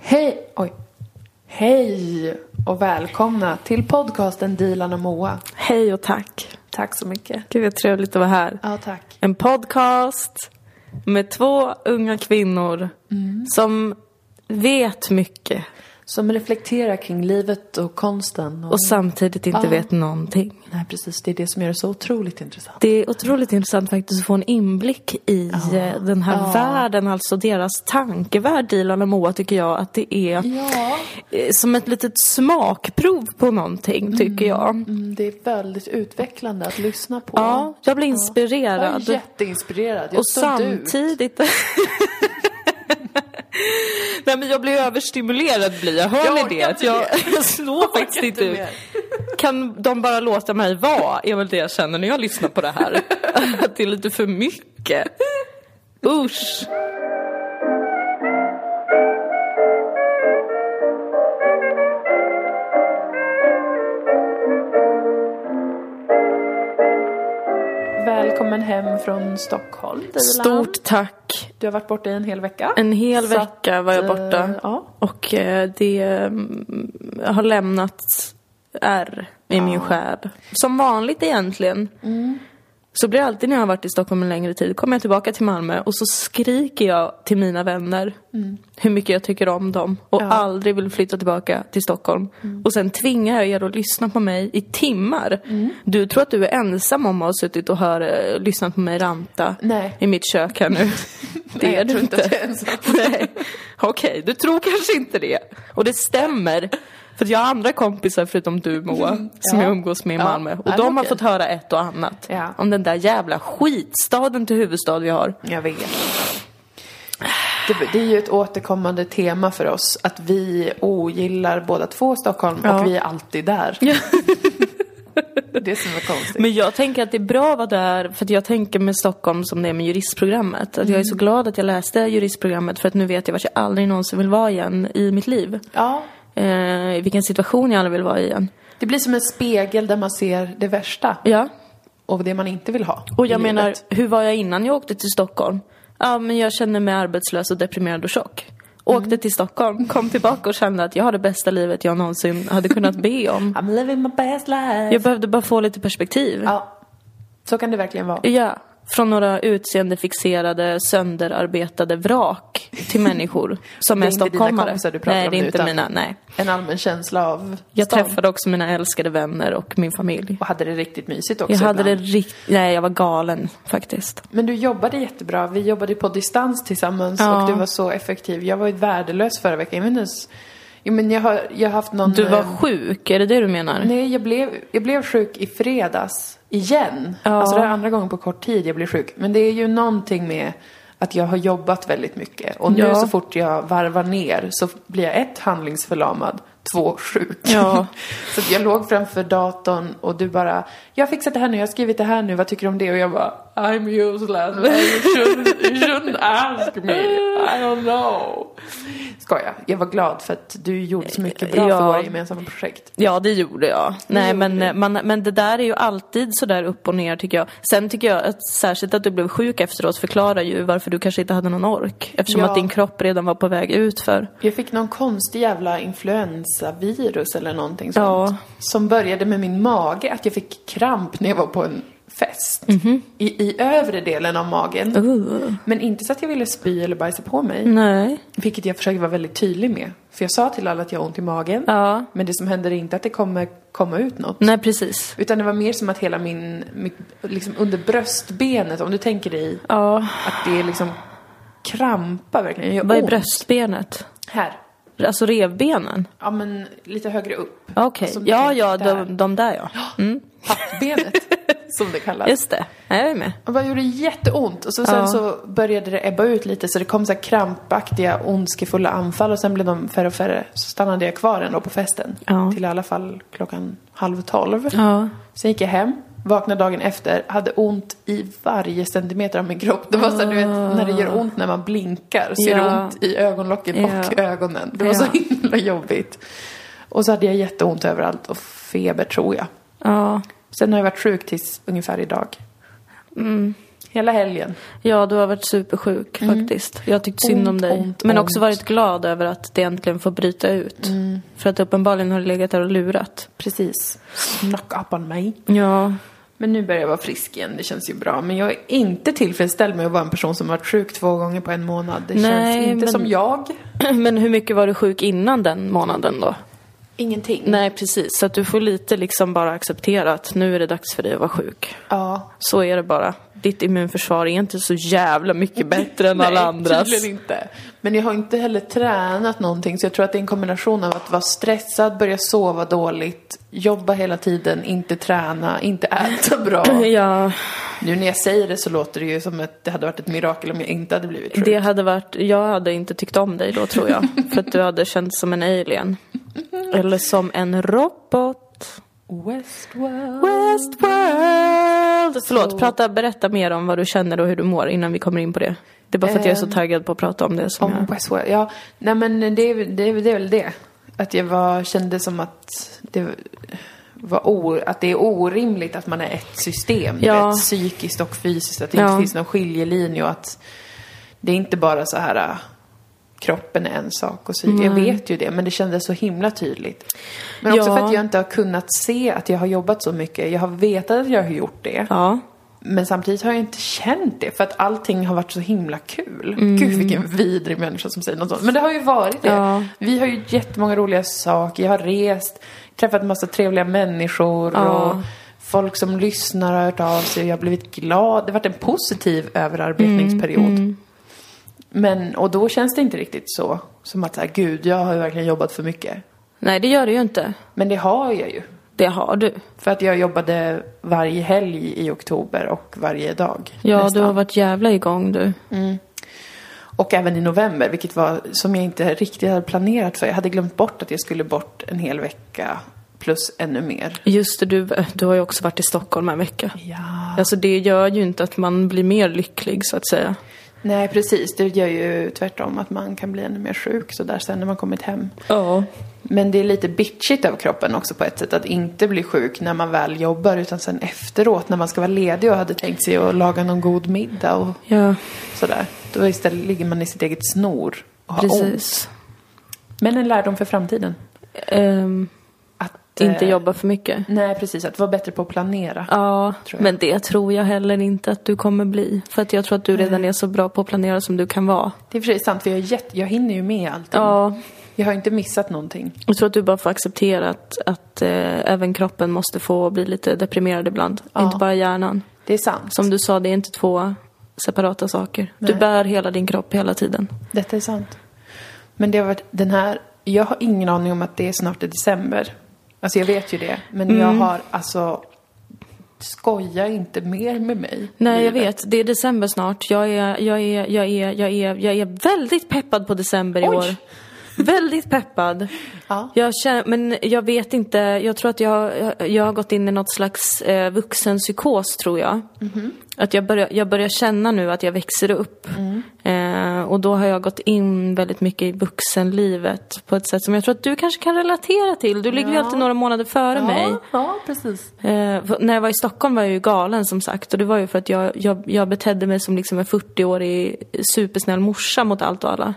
Hej! Oj. Hej och välkomna till podcasten Dilan och Moa. Hej och tack. Tack så mycket. Gud vad trevligt att vara här. Ja, tack. En podcast med två unga kvinnor Mm. som vet mycket Som reflekterar kring livet och konsten. Och... och samtidigt inte Ja. vet någonting. Nej, precis. Det är det som gör det så otroligt intressant. Det är otroligt intressant faktiskt att få en inblick i eh, den här världen, alltså deras tankevärld, Dilan och Moa tycker jag att det är Ja. eh, som ett litet smakprov på någonting tycker jag. Mm, det är väldigt utvecklande att lyssna på. Ja, jag blir Jag inspirerad. är jätteinspirerad. Jag Och står ut. samtidigt... Nej men jag blir överstimulerad blir jag, hör Jag orkar ni det? Att inte jag, jag slår faktiskt inte ut. Kan de bara låta mig vara? Är väl det jag känner när jag lyssnar på det här. Att det är lite för mycket. Usch! Välkommen hem från Stockholm, Dilan. Stort tack. Du har varit borta i en hel vecka. En hel Så vecka var jag att, borta. eh, ja. Och eh, det mm, har lämnat ärr i min själ. Som vanligt egentligen. Så blir det alltid när jag har varit i Stockholm en längre tid. Kommer jag tillbaka till Malmö och så skriker jag till mina vänner hur mycket jag tycker om dem och Ja. aldrig vill flytta tillbaka till Stockholm. Och sen tvingar jag er att lyssna på mig i timmar. Du tror att du är ensam om att ha suttit och hör, eh, lyssnat på mig ranta Nej. i mitt kök här nu. Det Nej, är jag du tror inte inte. att jag är ensam. Nej. Okej, du tror kanske inte det. Och det stämmer. För att jag har andra kompisar förutom du Moa, som Mm, Ja. jag umgås med i Ja. Malmö. Ja, det Och är de har okej. fått höra ett och annat. Ja. Om den där jävla skitstaden till huvudstad vi har. Jag vet. Det, det är ju ett återkommande tema för oss att vi ogillar båda två Stockholm Ja. och vi är alltid där. Det är det som är konstigt. Men jag tänker att det är bra att vara där, för att jag tänker med Stockholm som det är med juristprogrammet. Att jag är Mm. så glad att jag läste juristprogrammet för att nu vet jag vart jag aldrig någonsin vill vara igen i mitt liv. ja, Eh, I vilken situation jag aldrig vill vara i igen. det blir som en spegel där man ser det värsta Ja, och det man inte vill ha. Och i jag menar, livet. hur var jag innan jag åkte till Stockholm? Ja, men jag kände mig arbetslös och deprimerad och tjock. Mm. Åkte till Stockholm, kom tillbaka och kände att jag har det bästa livet jag någonsin hade kunnat be om. I'm living my best life. Jag behövde bara få lite perspektiv. Ja, så kan det verkligen vara. Ja, från några utseendefixerade, sönderarbetade vrak till människor som Det är är, inte dina stockholmare. kompisar du pratar nej, om det är nu, inte utan- mina, nej. En allmän känsla av Jag stan. träffade också mina älskade vänner och min familj. Och hade det riktigt mysigt också Jag hade ibland. det rikt... Nej, jag var galen faktiskt. Men du jobbade jättebra. Vi jobbade på distans tillsammans Ja. och du var så effektiv. Jag var ju värdelös förra veckan. Jag vet inte ens... Jo, men jag har, jag har haft någon... Du var eh, sjuk, är det det du menar? Nej, jag blev, jag blev sjuk i fredags. Igen. Alltså det här är andra gången på kort tid jag blev sjuk. Men det är ju någonting med att jag har jobbat väldigt mycket. Och nu Ja. så fort jag varvar ner så blir jag ett handlingsförlamad, två sjuk. Ja. så att jag låg framför datorn och du bara, jag har fixat det här nu, jag har skrivit det här nu, vad tycker du om det? Och jag bara, I'm useless, you shouldn't, you shouldn't ask me, I don't know. Skoja, jag var glad för att du gjorde så mycket bra Ja. för våra gemensamma projekt. Ja, det gjorde jag. Nej, men, eh, man, men det där är ju alltid sådär upp och ner tycker jag. Sen tycker jag att särskilt att du blev sjuk efteråt förklarar ju varför du kanske inte hade någon ork. Eftersom Ja. att din kropp redan var på väg ut för. Jag fick någon konstig jävla influensavirus eller någonting Ja. sånt. Som började med min mage, att jag fick kramp när jag var på en fest. I, I övre delen av magen. Mhm. Uh. Men inte så att jag ville spy eller bajsa på mig. Nej. Vilket jag försöker vara väldigt tydlig med. För jag sa till alla att jag har ont i magen. Ja. Men det som händer är inte att det kommer komma ut något. Nej, precis. Utan det var mer som att hela min, mitt, liksom under bröstbenet, om du tänker dig Ja. Oh. att det liksom krampar verkligen. Jag gör Vad är ont. bröstbenet? Här. Alltså revbenen? Ja men lite högre upp. Okej. Som Ja, tänk ja, där. de, de där ja. Mm. Pappbenet, som det kallas. Just det. Nej, jag är med. Och bara gjorde jätteont och så, sen Ja. så började det ebba ut lite så det kom så här krampaktiga, ondskefulla anfall och sen blev de färre och färre. Så stannade jag kvar ändå på festen. Ja. Till i alla fall klockan halv tolv. Ja. Sen gick jag hem, vaknade dagen efter, hade ont i varje centimeter av min kropp. Det var så här, du vet, när det gör ont när man blinkar så gör det Ah. Ja. ont i ögonlocken och Ja. ögonen. Det var så Ja. himla jobbigt. Och så hade jag jätteont överallt och feber tror jag. Ja. Mm. Sen har jag varit sjuk tills ungefär idag. Hela helgen. Ja, du har varit supersjuk faktiskt. Jag har tyckt synd Mm. om Ont, dig. ont, men ont. Mm. också varit glad över att det äntligen får bryta ut. För att uppenbarligen har du legat där och lurat. Precis. Knock up on me. Ja. Men nu börjar jag vara frisk igen, det känns ju bra. Men jag är inte tillfredsställd med att vara en person som varit sjuk två gånger på en månad. Det Nej, känns inte men- som jag. Men hur mycket var du sjuk innan den månaden då? Ingenting. Nej, precis. Så att du får lite liksom bara acceptera att nu är det dags för dig att vara sjuk. Ja. Så är det bara. Ditt immunförsvar är inte så jävla mycket bättre än alla Nej, andras. tydligen inte. Men jag har inte heller tränat någonting så jag tror att det är en kombination av att vara stressad, börja sova dåligt, jobba hela tiden, inte träna, inte äta bra. Ja, Nu när jag säger det så låter det ju som att det hade varit ett mirakel om jag inte hade blivit sjuk. det hade varit... Jag hade inte tyckt om dig då tror jag. För att du hade känts som en alien. Eller som en robot. Westworld. Westworld! Så- Förlåt, prata, berätta mer om vad du känner och hur du mår innan vi kommer in på det. Det är bara för att jag är så Ehm, taggad på att prata om det som Om jag... Westworld, ja. Nej men det, är väl- det, är väl- det är väl det. Att jag var, kände som att det var o, att det är orimligt att man är ett system. du Ja. Vet, psykiskt och fysiskt. Att det Ja. inte finns någon skiljelinje och att det är inte bara så här äh, kroppen är en sak och psyket. Jag vet ju det men det kändes så himla tydligt. Men också Ja. för att jag inte har kunnat se att jag har jobbat så mycket. Jag har vetat att jag har gjort det. Ja. Men samtidigt har jag inte känt det för att allting har varit så himla kul. Mm. Gud vilken vidrig människa som säger något sånt. Men det har ju varit det. Ja. Vi har ju gjort jättemånga roliga saker, jag har rest, träffat massa trevliga människor och folk som lyssnar har hört av sig och jag har blivit glad. Det har varit en positiv överarbetningsperiod. Mm, Men, och då känns det inte riktigt så. Som att så här, gud jag har ju verkligen jobbat för mycket. Nej, det gör du ju inte. Men det har jag ju. Det har du. För att jag jobbade varje helg i oktober och varje dag. Ja, nästan. du har varit jävla igång du. Och även i november, vilket var som jag inte riktigt hade planerat för. Jag hade glömt bort att jag skulle bort en hel vecka plus ännu mer. Just det, du, du har ju också varit i Stockholm en vecka. Ja. Alltså det gör ju inte att man blir mer lycklig så att säga. Nej, precis. Det gör ju tvärtom att man kan bli ännu mer sjuk så där sen när man kommit hem. Ja. Men det är lite bitchigt av kroppen också på ett sätt att inte bli sjuk när man väl jobbar utan sen efteråt när man ska vara ledig och hade tänkt sig att laga någon god middag och Ja, sådär. Då istället ligger man i sitt eget snor och har ont. precis. Men en lärdom för framtiden. Ehm, Att inte eh, jobba för mycket. Nej, precis. Att vara bättre på att planera. Ja, Tror jag. men det tror jag heller inte att du kommer bli. För att jag tror att du redan är så bra på att planera som du kan vara. Det är i och för sig sant, för jag, är jätte, jag hinner ju med allting. Ja, Jag har inte missat någonting. jag tror att du bara får acceptera att, att eh, även kroppen måste få bli lite deprimerad ibland. Ja. Inte bara hjärnan. Det är sant. Som du sa, det är inte två separata saker. Du Nej. bär hela din kropp hela tiden. Detta är sant. Men det har varit den här... Jag har ingen aning om att det är snart i december. Alltså jag vet ju det. Men jag Mm. har alltså... Skoja inte mer med mig. Nej, jag livet. vet. Det är december snart. Jag är, jag är, jag är, jag är, jag är väldigt peppad på december i Oj. år. Väldigt peppad. Ja. Jag känner, men jag vet inte, jag tror att jag, jag- jag har gått in i något slags eh, vuxenpsykos tror jag. Att jag börjar, jag börjar känna nu att jag växer upp. Eh, och då har jag gått in väldigt mycket i vuxenlivet på ett sätt som jag tror att du kanske kan relatera till. Du ligger ju alltid några månader före mig. Ja, ja, precis. Eh, för- när jag var i Stockholm var jag ju galen som sagt och det var ju för att jag, jag, jag betedde mig som liksom en 40-årig supersnäll morsa mot allt och alla.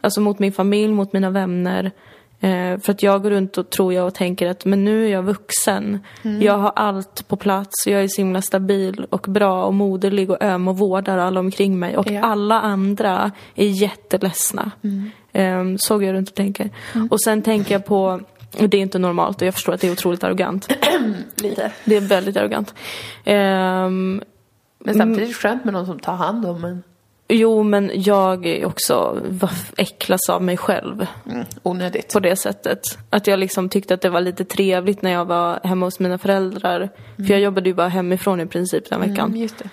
Alltså mot min familj, mot mina vänner. Eh, för att jag går runt och tror jag och tänker att men nu är jag vuxen. Jag har allt på plats och jag är så himla stabil och bra och moderlig och öm och vårdar alla omkring mig. Och Ja. alla andra är jätteledsna. Eh, såg jag runt och tänker. Och sen tänker jag på, det är inte normalt och jag förstår att det är otroligt arrogant. Lite. Det är väldigt arrogant. Ehm, Men samtidigt skönt med någon som tar hand om en. jo, men jag är också vaff- äcklas av mig själv Mm, onödigt. på det sättet. Att jag liksom tyckte att det var lite trevligt när jag var hemma hos mina föräldrar. För jag jobbade ju bara hemifrån i princip den veckan. Mm, just det.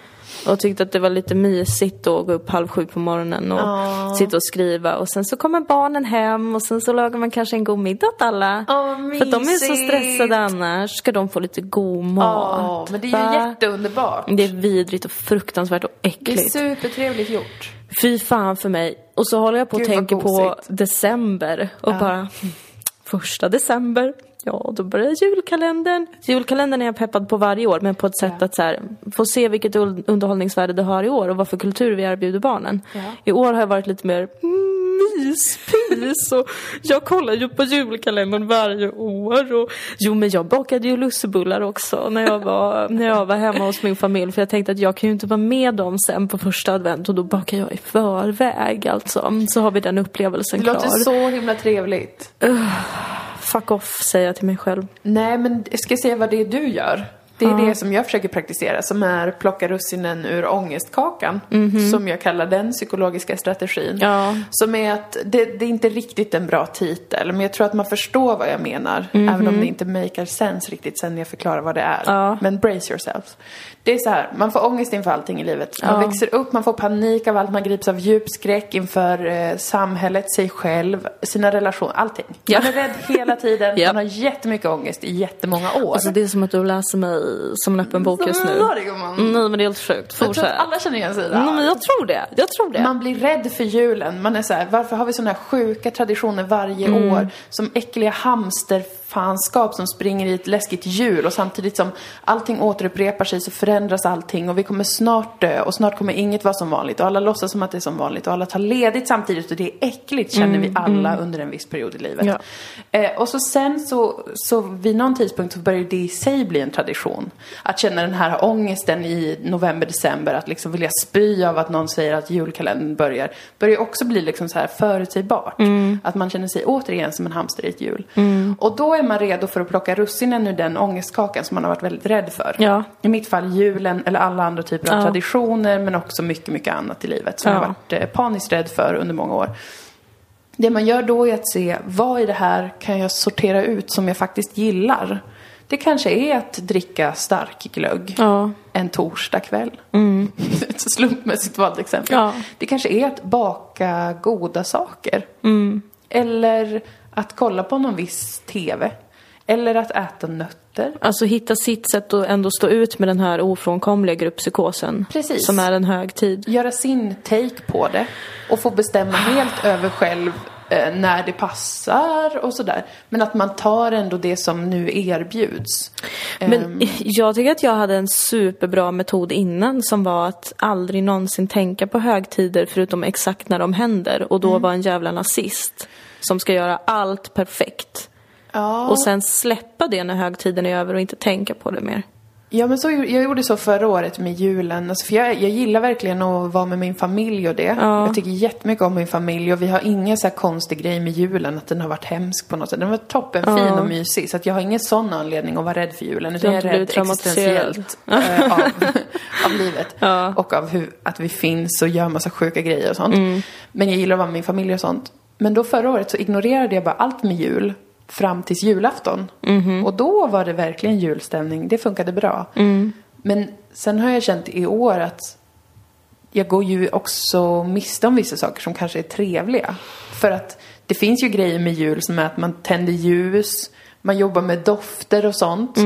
Och tyckte att det var lite mysigt att gå upp halv sju på morgonen och Ja. sitta och skriva. Och sen så kommer barnen hem och sen så lagar man kanske en god middag åt alla. Åh, För att de är så mysigt. stressade annars. Ska de få lite god mat? Ja, men det är ju va? jätteunderbart. Det är vidrigt och fruktansvärt och Det är äckligt. supertrevligt gjort. Fy fan för mig. Och så håller jag på och Gud, vad tänker på gosigt. december och bara första december. Ja, då börjar julkalendern. Julkalendern är jag peppad på varje år, men på ett sätt Ja. att så här, få se vilket un- underhållningsvärde det har i år och vad för kultur vi erbjuder barnen. Ja. I år har jag varit lite mer mm, myspys och jag kollar ju på julkalendern varje år. Och, jo, men jag bakade ju lussebullar också när jag, var, när jag var hemma hos min familj för jag tänkte att jag kan ju inte vara med dem sen på första advent och då bakar jag i förväg alltså. Så har vi den upplevelsen Det klar. låter så himla trevligt. Fuck off, säger jag till mig själv. Nej, men jag ska säga vad det är du gör. Det är det som jag försöker praktisera, som är plocka russinen ur ångestkakan. Som jag kallar den psykologiska strategin. Mhm. Ja. Som är att, det, det är inte riktigt en bra titel, men jag tror att man förstår vad jag menar. Även om det inte maker sense riktigt sen jag förklarar vad det är. Mhm. Ja. Men brace yourself. Det är så här, man får ångest inför allting i livet. Man Ja. växer upp, man får panik av allt, man grips av djup skräck inför eh, samhället, sig själv, sina relationer, allting. Ja. Man är rädd hela tiden, Ja. man har jättemycket ångest i jättemånga år. Alltså det är som att du läser mig som en öppen bok just nu. Var det, gumman? Mm, Nej men det är helt sjukt. Jag tror Fortsätt. att alla känner igen sig i det här. Nej men jag tror det. Jag tror det. Man blir rädd för julen. Man är så här, varför har vi såna här sjuka traditioner varje Mm. år? Som äckliga hamsterfanskap som springer i ett läskigt hjul och samtidigt som allting återupprepar sig så förändras allting och vi kommer snart dö och snart kommer inget vara som vanligt och alla låtsas som att det är som vanligt och alla tar ledigt samtidigt och det är äckligt känner vi alla under en viss period i livet. Mm, Ja. Eh, och så sen så, så vid någon tidpunkt så börjar det i sig bli en tradition. Att känna den här ångesten i november, december, att liksom vilja spy av att någon säger att julkalendern börjar. Börjar också bli liksom så här förutsägbart. Mm. Att man känner sig återigen som en hamster i ett hjul. Och då är man redo för att plocka russinen ur den ångestkakan som man har varit väldigt rädd för. Ja. I mitt fall julen eller alla andra typer av Ja. traditioner men också mycket, mycket annat i livet som Ja. jag har varit eh, paniskt rädd för under många år. Det man gör då är att se vad i det här kan jag sortera ut som jag faktiskt gillar. Det kanske är att dricka stark glögg Ja. Mm. en torsdagkväll. Ett slumpmässigt valt exempel. Ja. Det kanske är att baka goda saker. Mm. Eller att kolla på någon viss TV. Eller att äta nötter. Alltså hitta sitt sätt att ändå stå ut med den här ofrånkomliga grupppsykosen. Precis. Som är en högtid. göra sin take på det och få bestämma helt över själv eh, när det passar och sådär. Men att man tar ändå det som nu erbjuds. Ehm. Men jag tycker att jag hade en superbra metod innan som var att aldrig någonsin tänka på högtider förutom exakt när de händer och då Mm. vara en jävla nazist som ska göra allt perfekt. Ja, Och sen släppa det när högtiden är över och inte tänka på det mer. ja men så, gjo- jag gjorde så förra året med julen. Alltså, för jag, jag gillar verkligen att vara med min familj och det. Ja. Jag tycker jättemycket om min familj och vi har ingen så här konstig grej med julen att den har varit hemsk på något sätt. Den var toppenfin Ja. och mysig så att jag har ingen sån anledning att vara rädd för julen. Du Utan har jag är inte rädd blivit traumatiserad. existentiellt eh, av, av livet. Och av hur, att vi finns och gör massa sjuka grejer och sånt. Men jag gillar att vara med min familj och sånt. Men då förra året så ignorerade jag bara allt med jul. Fram tills julafton. Och då var det verkligen julstämning. Det funkade bra. Men sen har jag känt i år att jag går ju också miste om vissa saker som kanske är trevliga. För att det finns ju grejer med jul som är att man tänder ljus, man jobbar med dofter och sånt.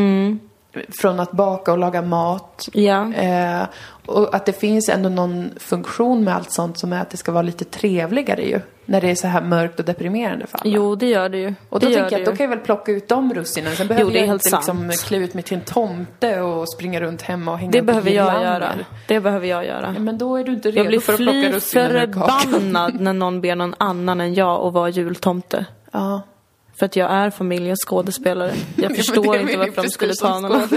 Från att baka och laga mat. Ja. Eh, och att det finns ändå någon funktion med allt sånt som är att det ska vara lite trevligare ju. När det är så här mörkt och deprimerande för alla. Jo, det gör det ju. Och då det gör tänker jag det att då ju. kan jag väl plocka ut de russinen. Sen behöver det är jag helt inte liksom sant. klä ut mig till en tomte och springa runt hemma och hänga Det upp behöver jag girlander. göra. Det behöver jag göra. Ja, Men då är du inte Jag redo blir för att plocka fly russinen ur kakan. förbannad när någon ber någon annan än jag att vara jultomte. Ja. För att jag är familjens skådespelare. Jag Ja, men förstår det är inte min varför de prestige skulle ta som någon annan.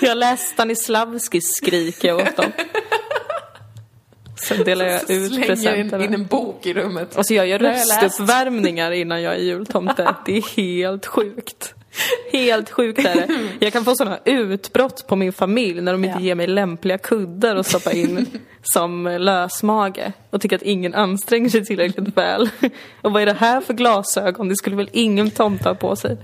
Jag läste Stanislavski skriker jag åt dem. Sen delar jag ut Slänger in, in presenterna. en bok i rummet. Alltså jag gör Det har jag läst. röstuppvärmningar innan jag är jultomte. Det är helt sjukt. Helt sjukt är det. Jag kan få sådana utbrott på min familj när de inte Ja. ger mig lämpliga kuddar att stoppa in som lösmage. Och tycker att ingen anstränger sig tillräckligt väl. Och vad är det här för glasögon? Det skulle väl ingen tomta ha på sig?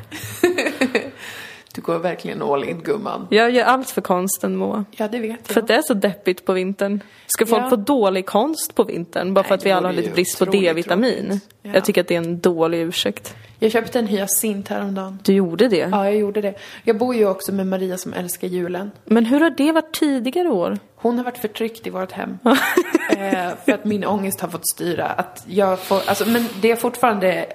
Du går verkligen all in gumman. Jag gör allt för konsten Moa. Ja, det vet För jag. att det är så deppigt på vintern. Ska folk Ja. få dålig konst på vintern bara för Nej, att vi det alla har vore lite ju brist på otroligt D-vitamin? tråkigt. Ja. Jag tycker att det är en dålig ursäkt. Jag köpte en hyacint häromdagen. Du gjorde det? Ja, jag gjorde det. Jag bor ju också med Maria som älskar julen. Men hur har det varit tidigare år? Hon har varit förtryckt i vårt hem. eh, för att min ångest har fått styra. Att jag får, alltså, men det är fortfarande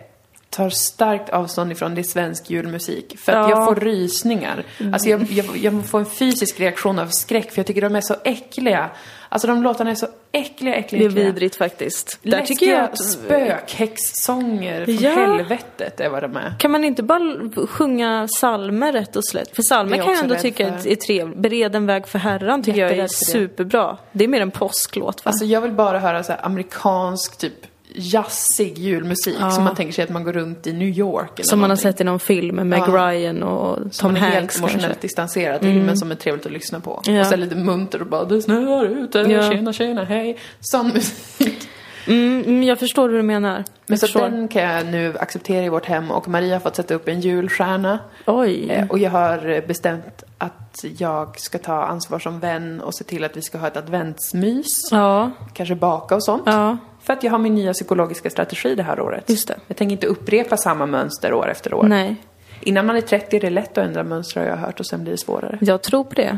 tar starkt avstånd ifrån det är svensk julmusik. För att Ja. Mm. jag får rysningar. Alltså jag, jag, jag får en fysisk reaktion av skräck för jag tycker de är så äckliga. Alltså de låtarna är så äckliga, Det äckliga, är äckliga. vidrigt faktiskt. Där Läskiga tycker jag att... spökhäxsånger från Ja. helvetet är vad de är. Kan man inte bara l- sjunga salmer rätt och slätt? För Det salmer är kan jag också ändå rädd tycka för. är- är trevligt. Bered en väg för Herran tycker jag är Jätterädd för det. superbra. Det är mer en påsklåt va? Alltså jag vill bara höra så här amerikansk typ jazzig julmusik som man tänker sig att man går runt i New York eller Som man har någonting. sett i någon film med Meg Ja. Ryan och Tom Som är helt Hanks kanske. Mm. emotionellt distanserad till men som är trevligt att lyssna på. Ja. Och sen lite munter och bara det snöar ute, Ja. tjena tjena hej. Sån musik. Mm, mm, jag förstår hur du menar. Men Jag så förstår. den kan jag nu acceptera i vårt hem och Maria har fått sätta upp en julstjärna. Oj. Eh, Och jag har eh, bestämt att jag ska ta ansvar som vän och se till att vi ska ha ett adventsmys. Ja, Kanske baka och sånt. ja. För att jag har min nya psykologiska strategi det här året. Just det. Jag tänker inte upprepa samma mönster år efter år. Nej. Innan man är 30 är det lätt att ändra mönster har jag hört och sen blir det svårare. Jag tror på det.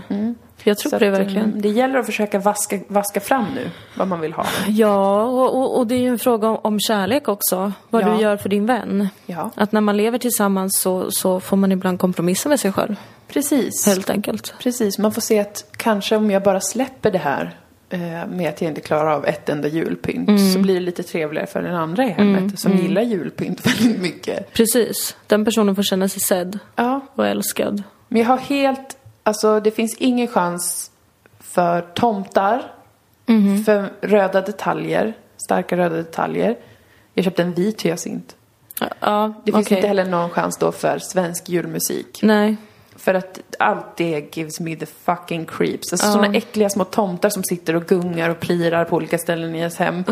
Jag tror Så på det att, eh, verkligen. Det gäller att försöka vaska, vaska fram nu vad man vill ha. Ja, och, och, och det är ju en fråga om, om kärlek också. Vad Ja. du gör för din vän. Ja. Att när man lever tillsammans så, så får man ibland kompromissa med sig själv. Precis. Helt enkelt. Precis, man får se att kanske om jag bara släpper det här eh, med att jag inte klarar av ett enda julpynt Mm. så blir det lite trevligare för den andra i hemmet som gillar julpynt väldigt mycket. Precis. Den personen får känna sig sedd Ja, och älskad. Men jag har helt, alltså det finns ingen chans för tomtar, Mhm. för röda detaljer, starka röda detaljer. Jag köpte en vit hyacint. Ja, Det finns okej. inte heller någon chans då för svensk julmusik. Nej. För att allt det gives me the fucking creeps. Alltså sådana äckliga små tomtar som sitter och gungar och plirar på olika ställen i ens hem.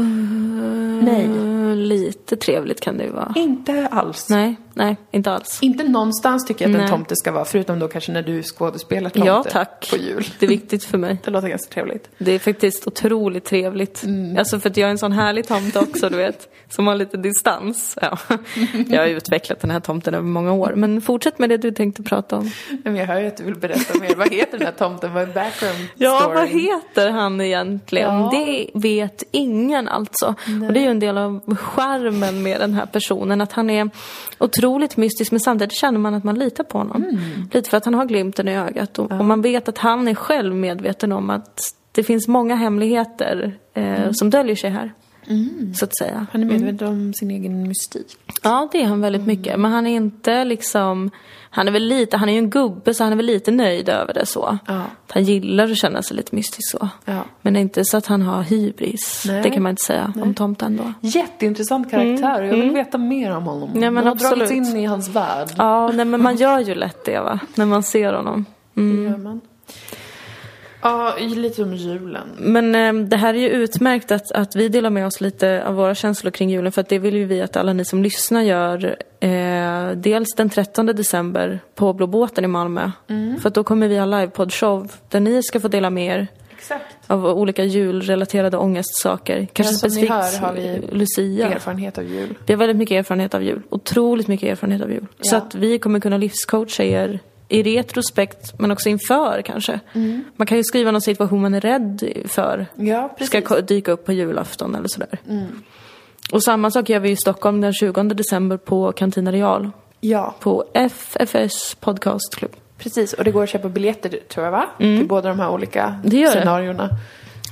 Nej, Eh, Lite trevligt kan det ju vara. inte alls. Nej, nej, inte alls. Inte någonstans tycker jag att en Nej. tomte ska vara, förutom då kanske när du skådespelar tomte Ja, tack. på jul. Det är viktigt för mig. Det låter ganska trevligt. Det är faktiskt otroligt trevligt. Alltså för att jag är en sån härlig tomte också, du vet. Som har lite distans. Ja. Jag har utvecklat den här tomten över många år. Men fortsätt med det du tänkte prata om. Nej, Men jag hör ju att du vill berätta mer. Vad heter den här tomten? Vad är background Ja, story? vad heter han egentligen? Ja. Det vet ingen alltså. Och det är ju en del av charmen med den här personen. Att han är otroligt mystisk men samtidigt känner man att man litar på honom. Mm. Lite för att han har glimten i ögat. Och, och man vet att han är själv medveten om att det finns många hemligheter eh, Mm. som döljer sig här. Så att säga. Han är medveten Mm. om sin egen mystik. Ja, det är han väldigt Mm. mycket. Men han är inte liksom... Han är väl lite... Han är ju en gubbe så han är väl lite nöjd över det så. Ja. Han gillar att känna sig lite mystisk så. Ja. Men det är inte så att han har hybris. Nej. Det kan man inte säga om tomten då. Jätteintressant karaktär och jag vill veta mer om honom. Mm. Ja, men jag har dragits absolut. in i hans värld. Ja, nej, men man gör ju lätt det va. När man ser honom. Mm. Det gör man. Ja, lite om julen. Men eh, det här är ju utmärkt att, att vi delar med oss lite av våra känslor kring julen för att det vill ju vi att alla ni som lyssnar gör eh, dels den 13 december på Blå båten i Malmö. För att då kommer vi ha livepoddshow där ni ska få dela med er Exakt. av olika julrelaterade ångestsaker. som Kanske ni specifikt hör har vi Lucia. Erfarenhet av jul. Vi har väldigt mycket erfarenhet av jul. Otroligt mycket erfarenhet av jul. Så Ja. att vi kommer kunna livscoacha er i retrospekt men också inför kanske. Man kan ju skriva någon situation man är rädd för Ja, precis. ska ko- dyka upp på julafton eller sådär. Och samma sak gör vi i Stockholm den 20 december på Cantina Real. Ja, På FFS podcastklubb. precis. Och det går att köpa biljetter tror jag va? Till båda de här olika Mm. Det gör det. scenarierna.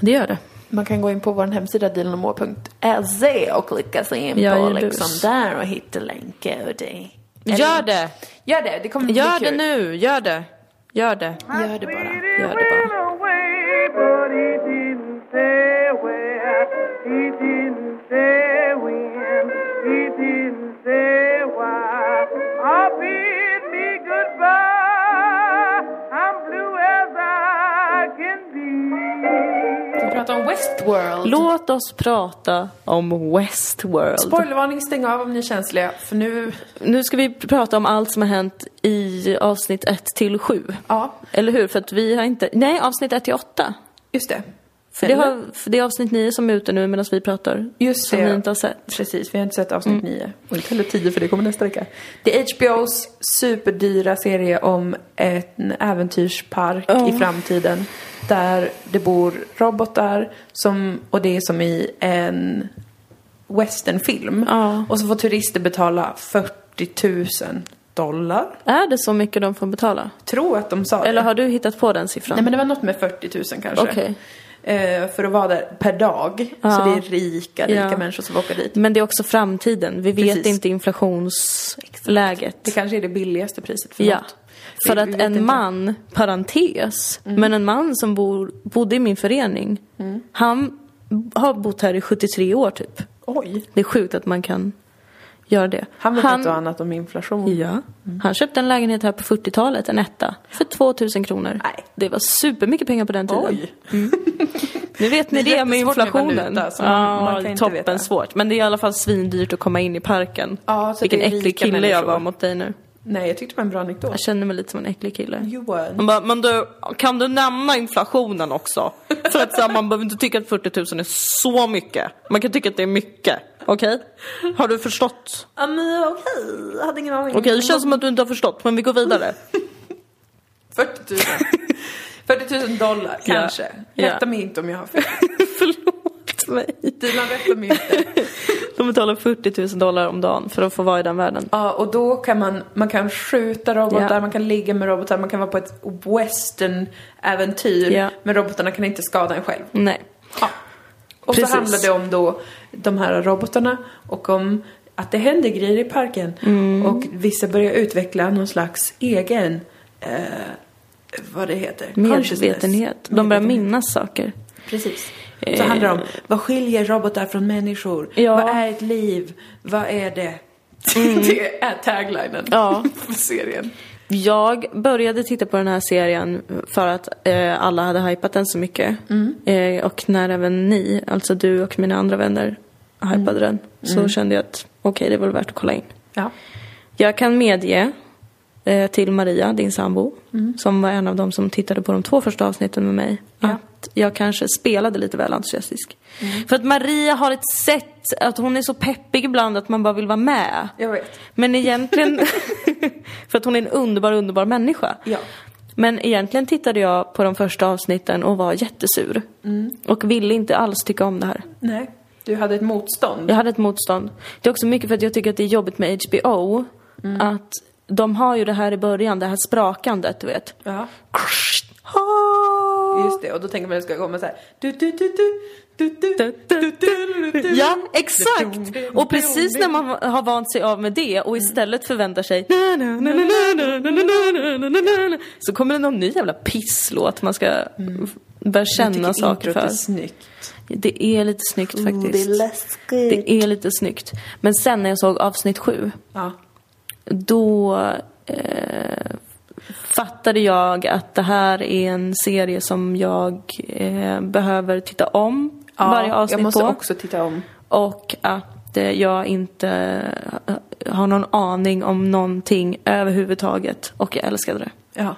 Det gör det. Man kan gå in på vår hemsida dilanmoa.se och klicka sig in Jag på är bus. liksom där och hitta länkar och det. Gör det! Gör det, det kommer bli Gör kul. det nu! Gör det! Gör det! Gör det bara. Gör det bara. away, but he didn't say where. He didn't say when. He didn't say why. Oh, bid me goodbye. I'm blue as I can be. Vi pratar om Westworld. Låt oss prata om Westworld. Spoilervarning, stäng av om ni är känsliga. För nu, Nu ska vi prata om allt som har hänt i avsnitt 1 till 7. ja, Eller hur? För att vi har inte... Nej, avsnitt 1 till 8. just det. För det, har... för det är avsnitt 9 som är ute nu medan vi pratar. Just som det. ni inte har sett. Precis, vi har inte sett avsnitt nio. Och inte heller tio för det kommer nästa vecka. Mm. Det är HBOs superdyra serie om en äventyrspark i framtiden. Där det bor robotar som, och det är som i en westernfilm. Ja. Och så får turister betala 40 000 dollar. Är det så mycket de får betala? Tror att de sa Eller det. har du hittat på den siffran? Nej men det var något med 40 000 kanske. Okej. Eh, för att vara där per dag. Så Ja. det är rika, rika Ja. människor som åker dit. Men det är också framtiden. Vi vet Precis. inte inflationsläget. Det kanske är det billigaste priset för Ja. något. För Vi- att vi en vet inte. Mm. man, parentes, men en man som bor, bodde i min förening, han har bott här i 73 år typ. Oj. Det är sjukt att man kan göra det. Han vet inte Mm. annat om inflation. ja, han köpte en lägenhet här på 40-talet, en etta, för 2000 kronor. Nej. Det var supermycket pengar på den tiden. Oj. Nu vet ni Det är det med jättesvårt med inflationen. valuta, så man- man kan inte toppen veta. svårt. Men det är i alla fall svindyrt att komma in i parken. Ja, så Vilken det är äcklig rika kille jag människor. var mot dig nu. Nej, jag tyckte det var en bra anekdot. Jag känner mig lite som en äcklig kille. Johan. Han bara, men du, kan du nämna inflationen också? För att så här, man behöver inte tycka att 40 000 är så mycket. Man kan tycka att det är mycket. Okej? Har du förstått? Ja, men okej. Jag hade ingen aning. Okej, det känns som att du inte har förstått, men vi går vidare. 40 000. 40 000 dollar, Ja. kanske. Ja. Rätta mig inte om jag har fel. Förlåt mig. Dilan, rätta mig inte. De betalar 40 000 dollar om dagen för att få vara i den världen. Ja, och då kan man, man kan skjuta robotar, Ja. man kan ligga med robotar, man kan vara på ett western-äventyr. Ja. Men robotarna kan inte skada en själv. Nej. Ja. Och Precis. så handlar det om då de här robotarna och om att det händer grejer i parken. Och vissa börjar utveckla någon slags egen, eh, vad det heter, consciousness. Medvetenhet. De börjar Medvetenhet. minnas saker. Precis. Så Eh. handlar det om, vad skiljer robotar från människor? Ja. Vad är ett liv? Vad är det? det är taglinen Ja. för serien. Jag började titta på den här serien för att eh, alla hade hypat den så mycket. Eh, och när även ni, alltså du och mina andra vänner, hypade den. Så kände jag att okej, det var väl värt att kolla in. Ja. Jag kan medge eh, till Maria, din sambo, som var en av dem som tittade på de två första avsnitten med mig, Mm. Ja. Mm. att jag kanske spelade lite väl entusiastisk. För att Maria har ett sätt, att hon är så peppig ibland att man bara vill vara med. Jag vet. Men egentligen, för att hon är en underbar, underbar människa. Ja. Men egentligen tittade jag på de första avsnitten och var jättesur. Mm. Och ville inte alls tycka om det här. Nej. Du hade ett motstånd. Jag hade ett motstånd. Det är också mycket för att jag tycker att det är jobbigt med HBO. Att de har ju det här i början, det här sprakandet, du vet. Ja. Ah. Just det, och då tänker man att det ska komma så här. Du, du, du, du, du, du, du, du, du, du, du. Ja, exakt! Och precis när man har vant sig av med det och istället förväntar sig na, na, na, na, na, na, na, na, na, na, na, så kommer det någon ny jävla pisslåt man ska f- börja känna Jag tycker saker introt är för. snyggt. Det är lite snyggt faktiskt. Det är lite snyggt. Men sen när jag såg avsnitt sju, Ja. då eh, fattade jag att det här är en serie som jag eh, behöver titta om Ja, varje avsnitt jag måste på. också titta om. Och att eh, jag inte eh, har någon aning om någonting överhuvudtaget. Och jag älskade det. Ja.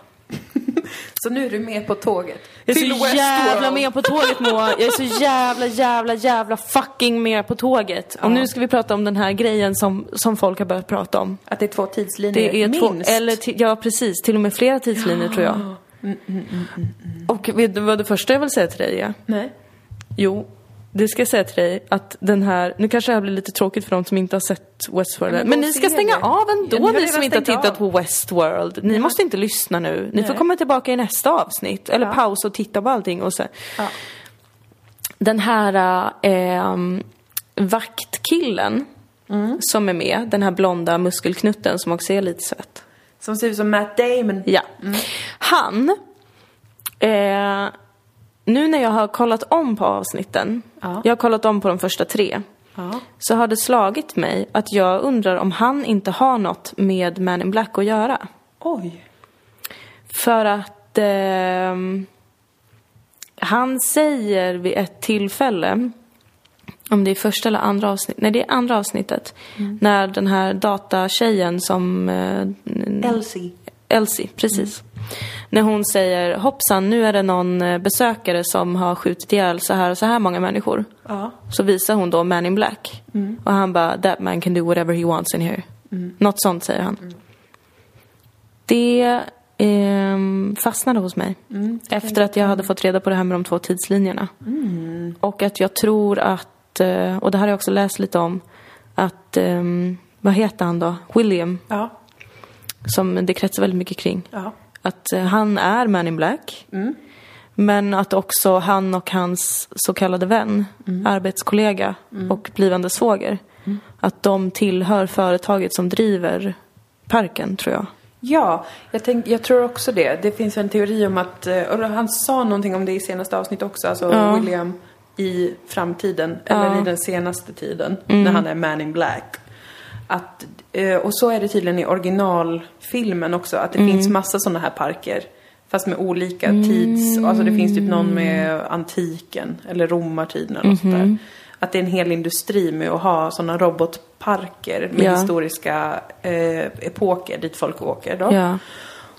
så nu är du med på tåget. Jag är Till så jävla Westworld. med på tåget Moa. Jag är så jävla, jävla, jävla fucking med på tåget. Och nu ska vi prata om den här grejen som, som folk har börjat prata om. Att det är två tidslinjer, Det är Eh, minst. Mm, två, eller ti- ja precis, till och med flera tidslinjer tror jag. Och vet du vad det första jag vill säga till dig är? Nej. Jo, det ska jag säga till dig att den här, nu kanske det här blir lite tråkigt för de som inte har sett Westworld. Ja, Men, men gå ni och ska se stänga det. av Ja, ni ändå har ni redan som inte har stängt tittat av. på Westworld. Ni måste inte lyssna nu. Ni får Nej. komma tillbaka i nästa avsnitt. Eller Ja. pausa och titta på allting och sen. Ja. Den här äh, ehm, vaktkillen Mm. som är med, den här blonda muskelknutten som också är lite söt. Som ser ut som Matt Damon. Ja. Han, eh, nu när jag har kollat om på avsnitten, Ja. jag har kollat om på de första tre, Ja. så har det slagit mig att jag undrar om han inte har något med Man in Black att göra. Oj. För att ehm, han säger vid ett tillfälle, om det är första eller andra avsnittet, nej det är andra avsnittet, när den här datatjejen som eh, Elsie. Elsie, precis. När hon säger hoppsan, nu är det någon eh, besökare som har skjutit ihjäl så här och så här många människor. Ja. Så visar hon då Man in Black. Och han bara, that man can do whatever he wants in here. Något sånt säger han. Det ehm, fastnade hos mig. Efter att jag hade fått reda på det här med de två tidslinjerna. Och att jag tror att att, eh, och det här har jag också läst lite om, att, ehm, vad heter han då? William, Ja, som det kretsar väldigt mycket kring. ja. Att eh, han är Man in Black. Men att också han och hans så kallade vän, arbetskollega och blivande svåger. Att de tillhör företaget som driver parken, tror jag. Ja, jag, tänk, jag tror också det. Det finns en teori om att, eh, och han sa någonting om det i senaste avsnitt också, alltså William i framtiden, eller i den senaste tiden, när han är man in black. Att, eh, och så är det tydligen i originalfilmen också, att det finns massa sådana här parker. Fast med olika tids, alltså det finns typ någon med antiken eller romartiden eller något sånt där. Att det är en hel industri med att ha sådana robotparker med Ja. historia historiska eh, epoker dit folk åker då. Ja.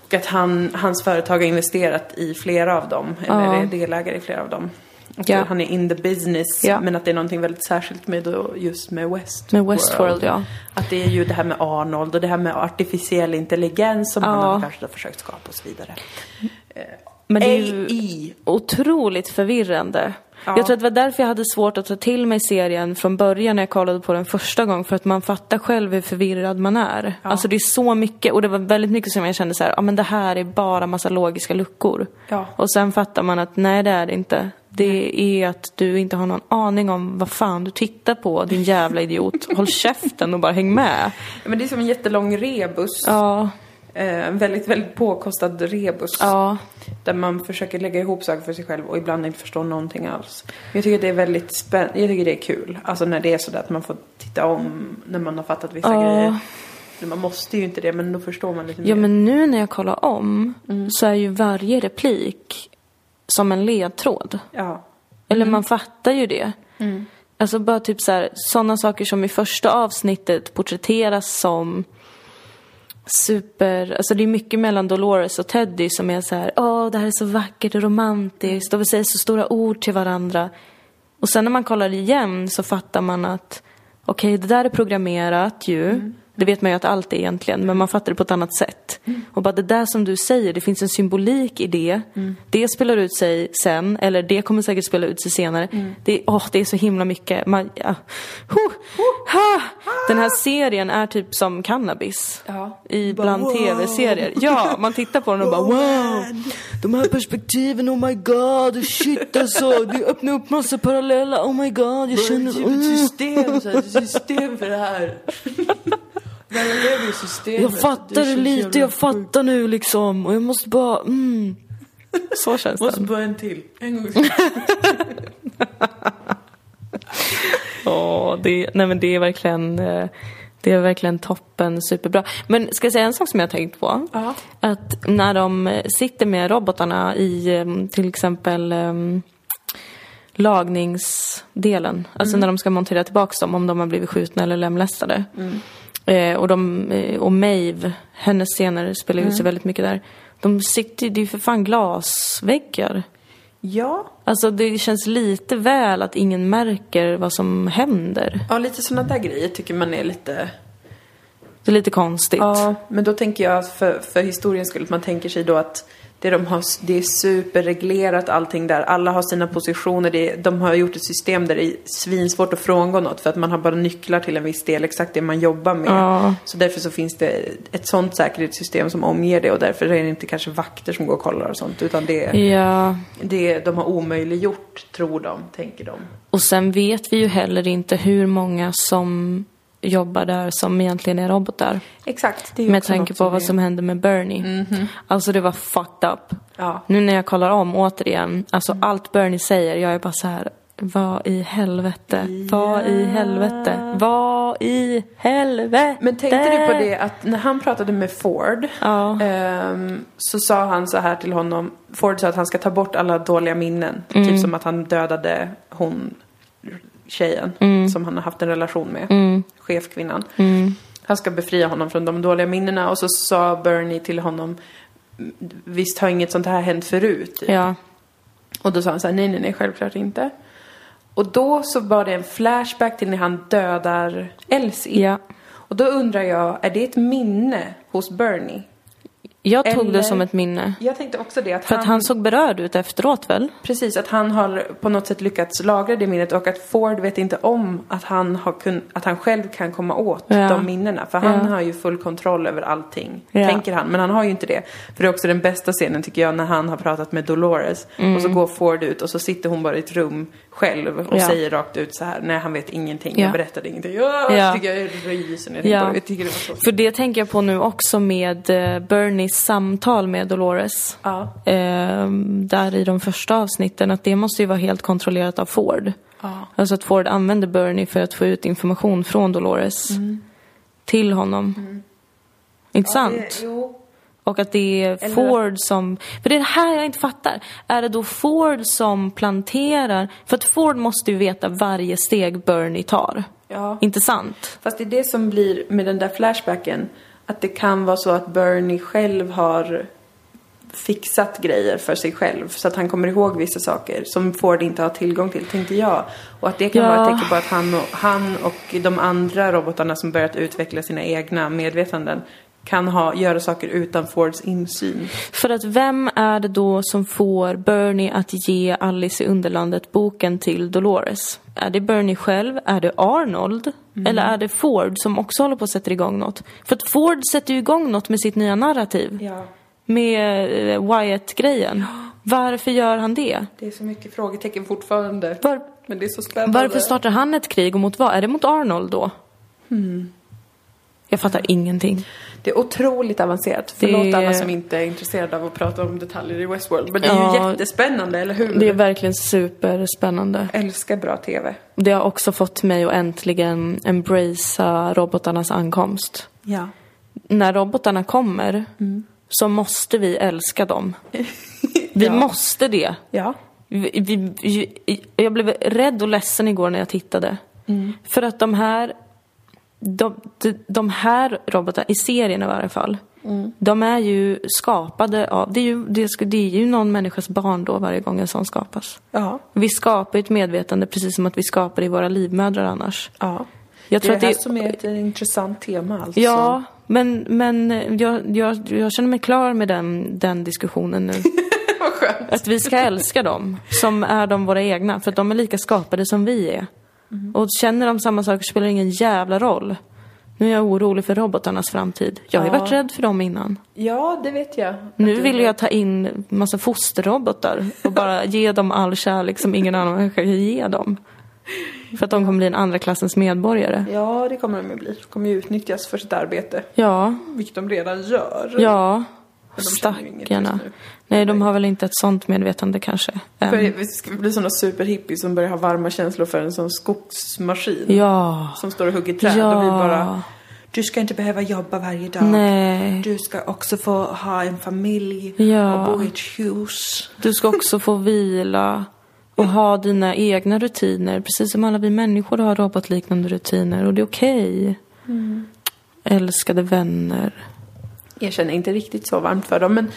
Och att han, hans företag har investerat i flera av dem, eller är delägare i flera av dem. Att Ja. Han är in the business, Ja. men att det är någonting väldigt särskilt med då, just med Westworld. Med Westworld, ja. Att det är ju det här med Arnold och det här med artificiell intelligens som han Ja. har kanske har försökt skapa och så vidare. Men det är AI. ju otroligt förvirrande. Ja. Jag tror att det var därför jag hade svårt att ta till mig serien från början när jag kollade på den första gången. För att man fattar själv hur förvirrad man är. Alltså det är så mycket och det var väldigt mycket som jag kände så här, ja men det här är bara massa logiska luckor. Ja. Och sen fattar man att nej det är det inte. Det är att du inte har någon aning om vad fan du tittar på din jävla idiot. Håll käften och bara häng med. Ja, Men det är som en jättelång rebus. Ja, Eh, en väldigt, väldigt påkostad rebus. ja. Där man försöker lägga ihop saker för sig själv och ibland inte förstår någonting alls. Men Jag tycker det är väldigt spännande, jag tycker det är kul. Alltså när det är sådär att man får titta om när man har fattat vissa Ja. grejer. Men Man måste ju inte det men då förstår man lite Ja mer. men nu när jag kollar om så är ju varje replik som en ledtråd. Ja. Eller man fattar ju det. Alltså bara typ så här, sådana saker som i första avsnittet porträtteras som super, alltså det är mycket mellan Dolores och Teddy som är så här, åh det här är så vackert och romantiskt och vi säger så stora ord till varandra. Och sen när man kollar igen så fattar man att okej det där är programmerat ju. Det vet man ju att allt är egentligen, men man fattar det på ett annat sätt. Och bara det där som du säger, det finns en symbolik i det. Det spelar ut sig sen, eller det kommer säkert spela ut sig senare. Det, åh, det är så himla mycket. Man, ja. Huh. Ha. Den här serien är typ som cannabis. Ja. I bland tv-serier. Ja, man tittar på den och bara wow. De här perspektiven, oh my god, shit alltså. Det öppnar upp massa parallella, oh my god, jag känner... Mm. system, så här, system för det här. Man lever i systemet. Jag fattar det känns lite, jävla jag sjukt. fattar nu liksom. Och jag måste bara, mm. Så känns Måste den. bara en till. En gång till. Ja, det, nej men det är verkligen, eh, det är verkligen toppen, superbra. Men ska jag säga en sak som jag har tänkt på? Ja. Att när de eh, sitter med robotarna i eh, till exempel eh, lagningsdelen, alltså när de ska montera tillbaks dem om de har blivit skjutna eller lemlästade. Eh, och, de, eh, och Maeve, hennes scener spelar ju ut sig väldigt mycket där. De sitter ju, det är ju för fan glasväggar. Ja. Alltså det känns lite väl att ingen märker vad som händer. Ja, lite sådana där grejer tycker man är lite... Det är lite konstigt. Ja, men då tänker jag att för, för historiens skull, att man tänker sig då att det, de har, det är superreglerat allting där. Alla har sina positioner. Det, är- de har gjort ett system där det är svinsvårt att frångå något för att man har bara nycklar till en viss del, exakt det man jobbar med. Ja. Så därför så finns det ett sånt säkerhetssystem som omger det och därför är det inte kanske vakter som går och kollar och sånt utan det är ja. det de har omöjliggjort, tror de, tänker de. Och sen vet vi ju heller inte hur många som jobbar där som egentligen är robotar. Exakt. Det är ju Med också tanke något på som vad är- som hände med Bernie. Alltså det var fucked up. Ja. Mm. Nu när jag kollar om återigen, alltså allt Bernie säger, jag är bara så här. Vad i helvete? Vad i helvete? Vad i helvete? Men tänkte du på det att när han pratade med Ford Ja. ehm, så sa han så här till honom. Ford sa att han ska ta bort alla dåliga minnen. Mm. Typ som att han dödade hon tjejen Mm. som han har haft en relation med. Chefkvinnan. Han ska befria honom från de dåliga minnena och så sa Bernie till honom Visst har inget sånt här hänt förut? Ja. Och då sa han så här, nej, nej, nej, självklart inte. Och då så var det en flashback till när han dödar Elsie. Ja. Och då undrar jag, är det ett minne hos Bernie? Jag tog Eller- det som ett minne. Jag tänkte också det. Att För han, att han såg berörd ut efteråt väl? Precis, att han har på något sätt lyckats lagra det minnet och att Ford vet inte om att han, har kun, att han själv kan komma åt Ja. de minnena. För han Ja. har ju full kontroll över allting, Ja. tänker han. Men han har ju inte det. För det är också den bästa scenen tycker jag när han har pratat med Dolores. Mm. Och så går Ford ut och så sitter hon bara i ett rum själv och Ja. säger rakt ut så här. Nej, han vet ingenting, Ja. jag berättade ingenting. Ja, Ja. Så tycker jag ryser när jag Ja. tänker på det. Jag tycker det var så. För det tänker jag på nu också med eh, Bernies samtal med Dolores. Ja. Eh, där i de första avsnitten, att det måste ju vara helt kontrollerat av Ford. Ja. Alltså att Ford använder Bernie för att få ut information från Dolores Mm. till honom. Inte sant? Jo. Och att det är Eller- Ford som... För det är det här jag inte fattar. Är det då Ford som planterar? För att Ford måste ju veta varje steg Bernie tar. Ja. Inte sant? Fast det är det som blir med den där flashbacken. Att det kan vara så att Bernie själv har fixat grejer för sig själv. Så att han kommer ihåg vissa saker som Ford inte har tillgång till, tänkte jag. Och att det kan Ja. vara ett tecken på att han och, han och de andra robotarna som börjat utveckla sina egna medvetanden kan ha, göra saker utan Fords insyn. För att vem är det då som får Bernie att ge Alice i Underlandet boken till Dolores? Är det Bernie själv? Är det Arnold? Eller är det Ford som också håller på att sätta igång något? För att Ford sätter ju igång något med sitt nya narrativ. Ja, Med eh, Wyatt-grejen. Varför gör han det? det är så mycket frågetecken fortfarande. Var- Men det är så spännande. Varför startar han ett krig och mot vad? Är det mot Arnold då? Hmm. Jag fattar ingenting. Det är otroligt avancerat. Förlåt Det- alla som inte är intresserade av att prata om detaljer i Westworld. Men det är ju Ja. jättespännande, eller hur? Det är verkligen superspännande. Jag älskar bra TV. Det har också fått mig att äntligen embracea robotarnas ankomst. Ja. När robotarna kommer så måste vi älska dem. Vi måste det. Ja. Vi, vi, vi- jag blev rädd och ledsen igår när jag tittade. För att de här de, de, de här robotarna, i serien i varje fall, de är ju skapade av, det är ju, det, sku- det är ju någon människas barn då varje gång en sån skapas. Ja. Vi skapar ju ett medvetande precis som att vi skapar i våra livmödrar annars. Ja. Jag Det är tror det här att det som är ett intressant tema alltså. Ja, men, men jag, jag, jag känner mig klar med den, den diskussionen nu. Vad skönt. Att vi ska älska dem som är de våra egna, för att de är lika skapade som vi är. Mhm. Och känner de samma saker spelar det ingen jävla roll. Nu är jag orolig för robotarnas framtid. Jag har ju Ja. varit rädd för dem innan. Ja, det vet jag. Nu vill jag ta in massa fosterrobotar och bara ge dem all kärlek som ingen annan människa kan ge dem. För att de kommer bli en andra klassens medborgare. Ja, det kommer de ju bli. De kommer ju utnyttjas för sitt arbete. Ja, Vilket de redan gör. ja. Men de känner ju inget just Stackarna. nu. Nej, de har väl inte ett sånt medvetande kanske. än. För vi ska bli sådana superhippies som börjar ha varma känslor för en sån skogsmaskin. Ja. Som står och hugger träd Ja. och vi bara Du ska inte behöva jobba varje dag. Nej. Du ska också få ha en familj Ja. och bo i ett hus. Du ska också få vila och ha dina egna rutiner. Precis som alla vi människor har robotliknande rutiner. Och det är okej. Mm. Älskade vänner. Jag känner inte riktigt så varmt för dem men,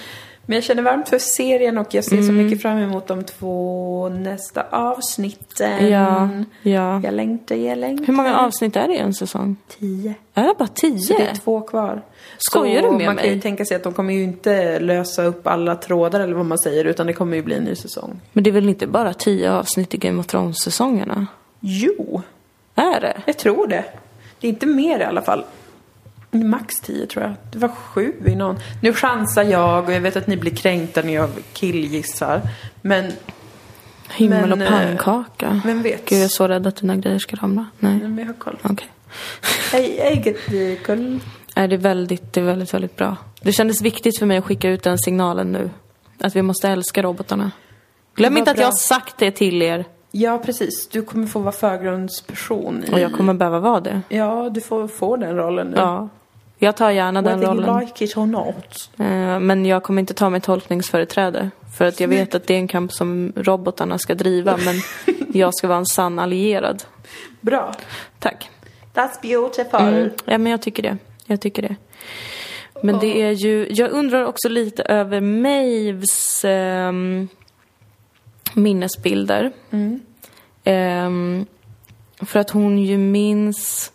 men jag känner varmt för serien och jag ser Mm. så mycket fram emot de två nästa avsnitten. Ja, ja. Jag längtar, jag längtar. Hur många avsnitt är det i en säsong? Tio. Är det bara Så det tio? är två kvar. Skojar så du med man kan ju mig? tänka sig att de kommer ju inte lösa upp alla trådar eller vad man säger utan det kommer ju bli en ny säsong. Men det är väl inte bara tio avsnitt i Game of Thrones-säsongerna? Jo, Är det? jag tror det. Det är inte mer i alla fall. Max tio tror jag. Det var sju i någon. Nu chansar jag och jag vet att ni blir kränkta när jag killgissar. Men Himmel Men, och eh, pannkaka. vem vet? Mm. Gud, jag är så rädd att dina grejer ska ramla. Nej. Men jag har koll. Okej. Hej, eget eh, koll. Nej, det är väldigt, det är väldigt, väldigt bra. Det kändes viktigt för mig att skicka ut den signalen nu. Att vi måste älska robotarna. Det Glöm var inte att bra. jag har sagt det till er. Ja, precis. Du kommer få vara förgrundsperson. I... Och jag kommer behöva vara det. Ja, du får få den rollen nu. Ja. Jag tar gärna den Whether you rollen. like it or not. Eh, Men jag kommer inte ta mig tolkningsföreträde. För att jag vet att det är en kamp som robotarna ska driva. Men jag ska vara en sann allierad. Bra. Tack. That's beautiful. Mm. Ja, men jag tycker det. Jag tycker det. Men det är ju, jag undrar också lite över Maves ehm, minnesbilder. Ehm, för att hon ju minns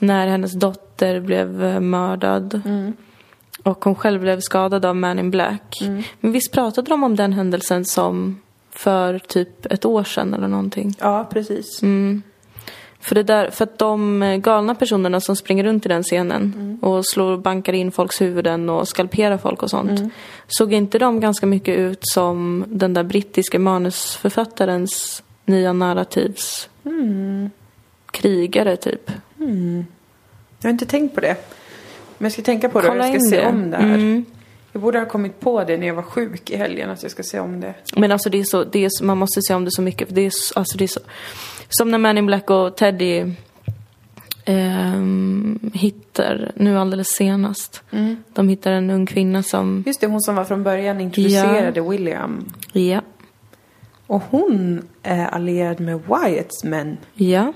när hennes dotter blev eh, mördad. och hon själv blev skadad av Man in Black. Men visst pratade de om den händelsen som för typ ett år sedan eller någonting? Ja, precis. Mm. För, det där, för att de eh, galna personerna som springer runt i den scenen och slår bankar in folks huvuden och skalperar folk och sånt. Såg inte de ganska mycket ut som den där brittiska manusförfattarens nya narrativs krigare typ? Jag har inte tänkt på det. Men jag ska tänka på det och jag ska in se om det här. Mm. Jag borde ha kommit på det när jag var sjuk i helgen att jag ska se om det. Men alltså det är så, det är så, man måste se om det så mycket. För det är, så- alltså det är så, som när Man in Black och Teddy ehm, hittar, nu alldeles senast. De hittar en ung kvinna som, Just det, hon som var från början introducerade William. ja, Och hon är allierad med Wyatts män. ja.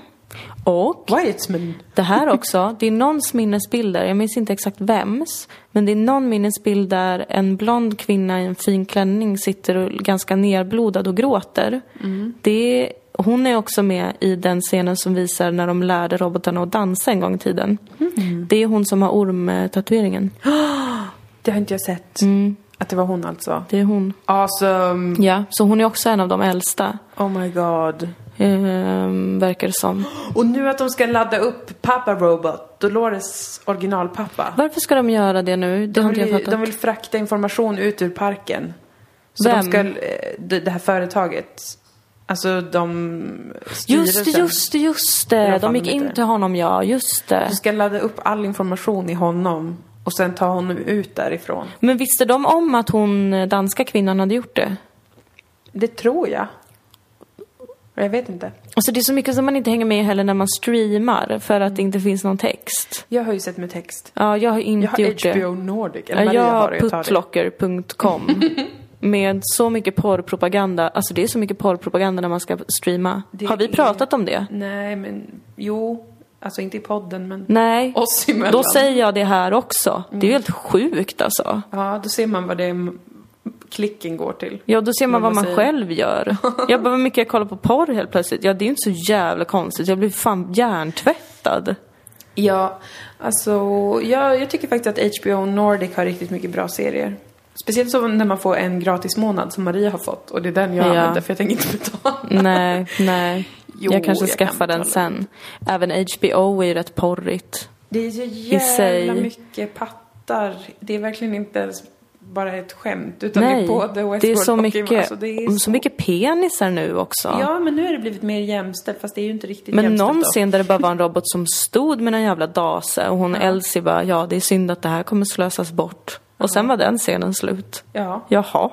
Och Wyatts män? det här också, det är någons minnesbild där, jag minns inte exakt vems. Men det är någon minnesbild där en blond kvinna i en fin klänning sitter och ganska nerblodad och gråter. Mm. Det, hon är också med i den scenen som visar när de lärde robotarna att dansa en gång i tiden. Mm. Det är hon som har ormtatueringen. Det har inte jag sett. Mm. Att det var hon alltså. Det är hon. Awesome! Ja, så hon är också en av de äldsta. Oh my god. Ehm, verkar det som. Och nu att de ska ladda upp Papa Robot, Dolores originalpappa. Varför ska de göra det nu? Det har De inte vill, jag fattat. de vill frakta information ut ur parken. Så Vem? de ska, eh, det det här företaget, alltså de Just det, styrelsen. just det, just Eller det. vad fan De gick de heter. in till honom, ja. Just det. De ska ladda upp all information i honom och sen ta honom ut därifrån. Men visste de om att hon, eh, danska kvinnan, hade gjort det? Det tror jag. Jag vet inte. Alltså det är så mycket som man inte hänger med i heller när man streamar för att det inte finns någon text. Jag har ju sett med text. Ja, jag har inte Jag har gjort det. HBO Nordic. Eller Ja, Maria jag har har det, jag tar det. puttlocker.com med så mycket porrpropaganda. Alltså det är så mycket porrpropaganda när man ska streama. Det har vi är- pratat om det? Nej, men jo. Alltså inte i podden, men Nej. oss emellan. Då säger jag det här också. Det är ju helt sjukt alltså. Ja, då ser man vad det är klicken går till. Ja, då ser man Vad vad man man säger. själv gör. Jag bara, vad mycket jag kollar på porr helt plötsligt. Ja, det är ju inte så jävla konstigt. Jag blir fan hjärntvättad. Ja, alltså jag, jag tycker faktiskt att HBO Nordic har riktigt mycket bra serier. Speciellt så när man får en gratis månad som Maria har fått och det är den jag Ja. använder för jag tänker inte betala. Nej, nej. Jo, jag kanske jag skaffar kan den sen. Även HBO är ju rätt porrigt. Det är ju sig. jävla mycket pattar. Det är verkligen inte ens bara ett skämt utan det nej, är både Westworld det är så och mycket, alltså, det är så... mycket penisar nu också. Ja, men nu har det blivit mer jämställt fast det är ju inte riktigt Men jämställt någon då. scen där det bara var en robot som stod med en jävla dase och hon Elsie bara, ja det är synd att det här kommer slösas bort. Och sen var den scenen slut. Ja. Jaha.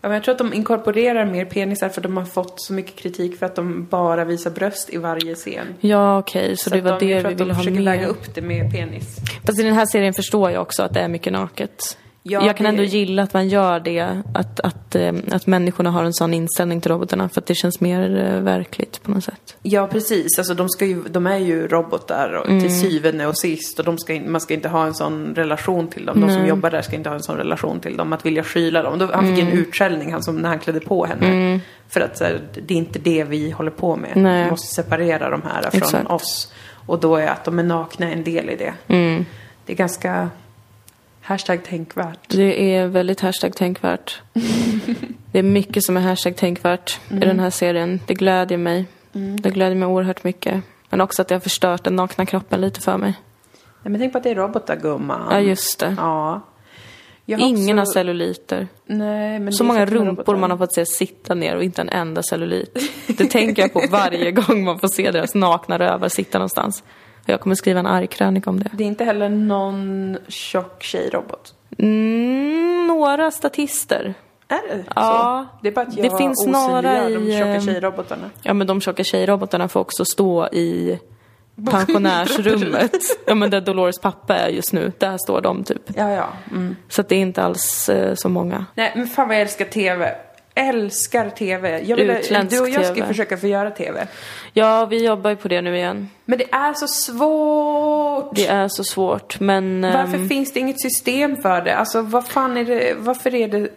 Ja, men jag tror att de inkorporerar mer penisar för de har fått så mycket kritik för att de bara visar bröst i varje scen. Ja okej, så, det att var de, jag det tror vi att de ville ha försöker med. väga upp det med penis. Fast i den här serien förstår jag också att det är mycket naket. Ja, jag kan det- ändå gilla att man gör det, att, att, eh, att människorna har en sån inställning till robotarna för att det känns mer eh, verkligt på något sätt. Ja, precis. Alltså, de, ska ju, de är ju robotar och, Mm. till syvende och sist och de ska, in- man ska inte ha en sån relation till dem. De som jobbar där ska inte ha en sån relation till dem. Att vilja skyla dem. Då, han fick Mm. en utskällning han, som, när han klädde på henne. För att så här, det är inte det vi håller på med. Nej. Vi måste separera de här från Exakt. oss. Och då är att de är nakna en del i det. Mm. Det är ganska hashtag tänkvärt. Det är väldigt hashtag tänkvärt. det är mycket som är hashtag tänkvärt i Mm. den här serien. Det glädjer mig. Det glädjer mig oerhört mycket. Men också att det har förstört den nakna kroppen lite för mig. Nej, men tänk på att det är robotar gumman. Ja, just det. Ja. Jag Ingen har också- celluliter. Nej, men Så det är många för att de är rumpor robotar. man har fått se sitta ner och inte en enda cellulit. Det tänker jag på varje gång man får se deras nakna rövar sitta någonstans. Och Jag kommer skriva en arg krönika om det. Det är inte heller någon tjock tjejrobot. Mm, några statister. Är det Ja. så? Det är bara att Det jag finns osynliggör några de i, tjocka ehm, tjejrobotarna. Ja men de tjocka tjejrobotarna får också stå i pensionärsrummet. Ja men där Dolores pappa är just nu. Där står de typ. Ja, ja. Mm. Så att det är inte alls eh, så många. Nej, men fan vad jag älskar TV. Älskar TV. Jag vill, Utländsk du och jag ska ju TV. försöka få göra TV. Ja vi jobbar ju på det nu igen. Men det är så svårt! Det är så svårt men... ehm, Varför finns det inget system för det? Alltså, vad fan är det? Varför är det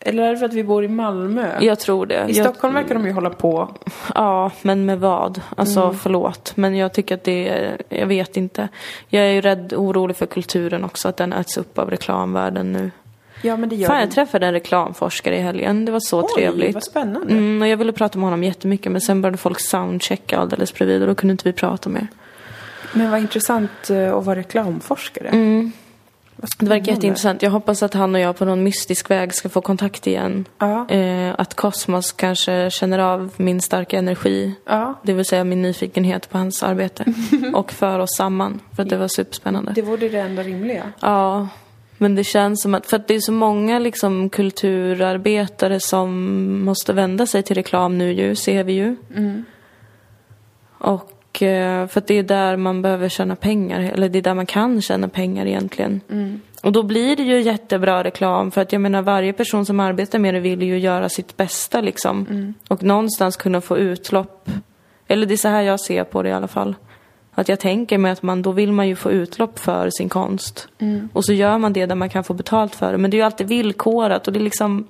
Eller är det för att vi bor i Malmö? Jag tror det. I jag, Stockholm verkar de ju hålla på. Ja, men med vad? Alltså Mm. förlåt, men jag tycker att det är, jag vet inte. Jag är ju rädd, orolig för kulturen också, att den äts upp av reklamvärlden nu. Ja, men det gör Fan, jag de. träffade en reklamforskare i helgen. Det var så Oj, trevligt. vad spännande. Mm, och jag ville prata med honom jättemycket, men sen började folk soundchecka alldeles bredvid och då kunde inte vi prata mer. Men vad intressant eh, att vara reklamforskare. Vad Mm. Det verkar spännande. jätteintressant. Jag hoppas att han och jag på någon mystisk väg ska få kontakt igen. Ja. Eh, att Cosmos kanske känner av min starka energi. Ja. Det vill säga min nyfikenhet på hans arbete. och för oss samman. För att det var superspännande. Det vore det enda rimliga. Ja. Men det känns som att, för att det är så många liksom kulturarbetare som måste vända sig till reklam nu ju, ser vi ju. Och eh, för att det är där man behöver tjäna pengar, eller det är där man kan tjäna pengar egentligen. Och då blir det ju jättebra reklam för att jag menar varje person som arbetar med det vill ju göra sitt bästa liksom. Och någonstans kunna få utlopp. Eller det är så här jag ser på det i alla fall. Att jag tänker mig att man, då vill man ju få utlopp för sin konst. Och så gör man det där man kan få betalt för det. Men det är ju alltid villkorat och det är liksom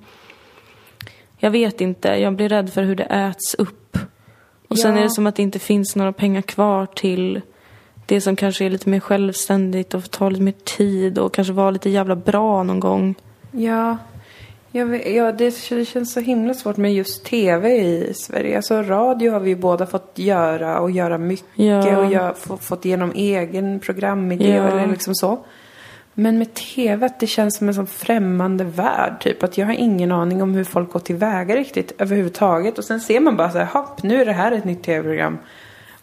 Jag vet inte, jag blir rädd för hur det äts upp. Och sen Ja. är det som att det inte finns några pengar kvar till det som kanske är lite mer självständigt och tar lite mer tid och kanske vara lite jävla bra någon gång. Ja. Jag vet, ja, det k- det känns så himla svårt med just tv i Sverige. Alltså radio har vi ju båda fått göra och göra mycket Ja. och gö- få, fått igenom egen programidé Ja. eller liksom så. Men med tv, att det känns som en sån främmande värld typ. Att jag har ingen aning om hur folk går tillväga riktigt överhuvudtaget. Och sen ser man bara så här, hopp, nu är det här ett nytt tv-program.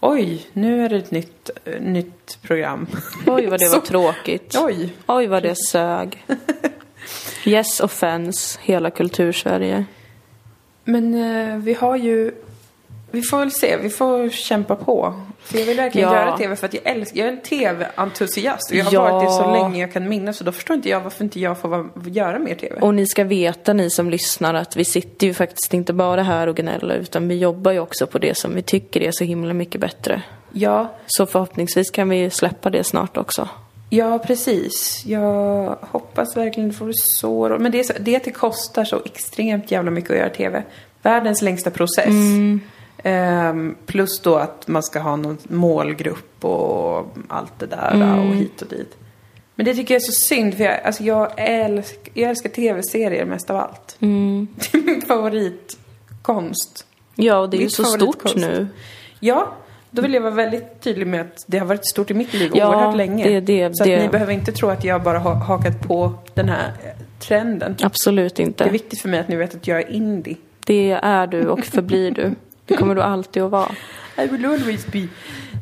Oj, nu är det ett nytt, eh, nytt program. Oj vad det Så- var tråkigt. Oj. Oj vad det sög. Yes offense, hela kultursverige. Men eh, vi har ju... Vi får väl se, vi får kämpa på. För jag vill verkligen Ja. göra tv för att jag älskar, jag är en tv-entusiast och jag har Ja. varit det så länge jag kan minnas så då förstår inte jag varför inte jag får vara, göra mer tv. Och ni ska veta ni som lyssnar att vi sitter ju faktiskt inte bara här och gnäller utan vi jobbar ju också på det som vi tycker är så himla mycket bättre. ja, Så förhoppningsvis kan vi släppa det snart också. ja precis. Jag hoppas verkligen, det får bli så ro- Men det är, så, det är att det kostar så extremt jävla mycket att göra tv. Världens längsta process. Ehm, plus då att man ska ha någon målgrupp och allt det där och hit och dit. Men det tycker jag är så synd för jag, alltså jag, älsk, jag älskar tv-serier mest av allt. Det är min favoritkonst. Ja, och det är ju Mitt så stort favoritkonst. nu. Ja, då vill jag vara väldigt tydlig med att det har varit stort i mitt liv Ja, oerhört länge. det- det- så att det- ni behöver inte tro att jag bara har hakat på den här eh, trenden. Absolut Det är inte. viktigt för mig att ni vet att jag är indie. Det är du och förblir du. Det kommer du alltid att vara. I will always be.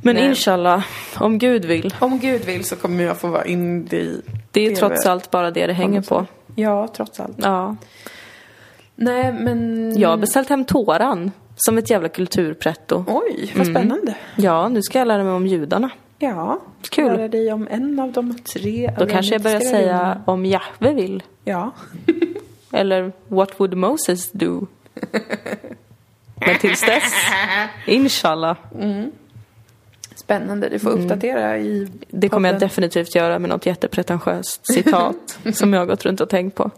Men Nej. inshallah, om Gud vill. Om Gud vill så kommer jag få vara indie. Det är TV. trots allt bara det det hänger på. Ja, trots allt. Ja. Nej, men... Jag har beställt hem tåran. Som ett jävla kulturpretto. Oj, vad Mm. spännande. Ja, nu ska jag lära mig om judarna. Ja. Kul. Lära dig om en av de tre Då kanske jag börjar alemitiska religionerna. säga om Jahve vill. Ja. Eller What would Moses do? Men tills dess, inshallah. Spännande. Du får uppdatera i Mm. Det kommer jag podden. definitivt göra med något jättepretentiöst citat som jag har gått runt och tänkt på.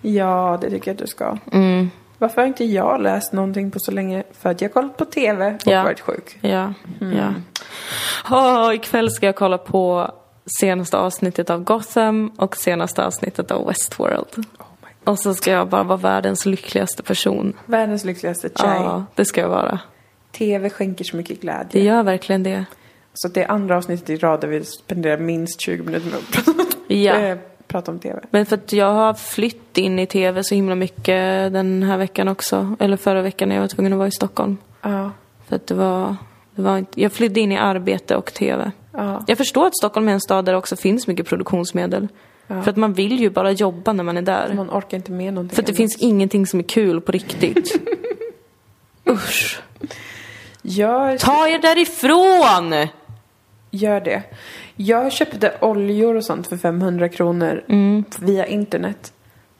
Ja, det tycker jag att du ska. Mm. Varför har inte jag läst någonting på så länge? För att jag har kollat på TV och Ja. varit sjuk. Ja, Mm. ja. Oh, ikväll ska jag kolla på senaste avsnittet av Gotham och senaste avsnittet av Westworld. Oh my och så ska jag bara vara världens lyckligaste person. Världens lyckligaste tjej. Ja, det ska jag vara. TV skänker så mycket glädje. Det gör verkligen det. Så det är andra avsnittet i rad där vi spenderar minst 20 minuter med att prata- Ja. eh, prata om TV. Men för att jag har flytt in i tv så himla mycket den här veckan också. Eller förra veckan när jag var tvungen att vara i Stockholm. Ja. För att det var, det var inte, jag flydde in i arbete och tv. Ja. Jag förstår att Stockholm är en stad där det också finns mycket produktionsmedel. För att man vill ju bara jobba när man är där. Man orkar inte med någonting. För att det annat. finns ingenting som är kul på riktigt. Usch. Jag Ta er därifrån! gör det. Jag köpte oljor och sånt för 500 kronor Mm. via internet.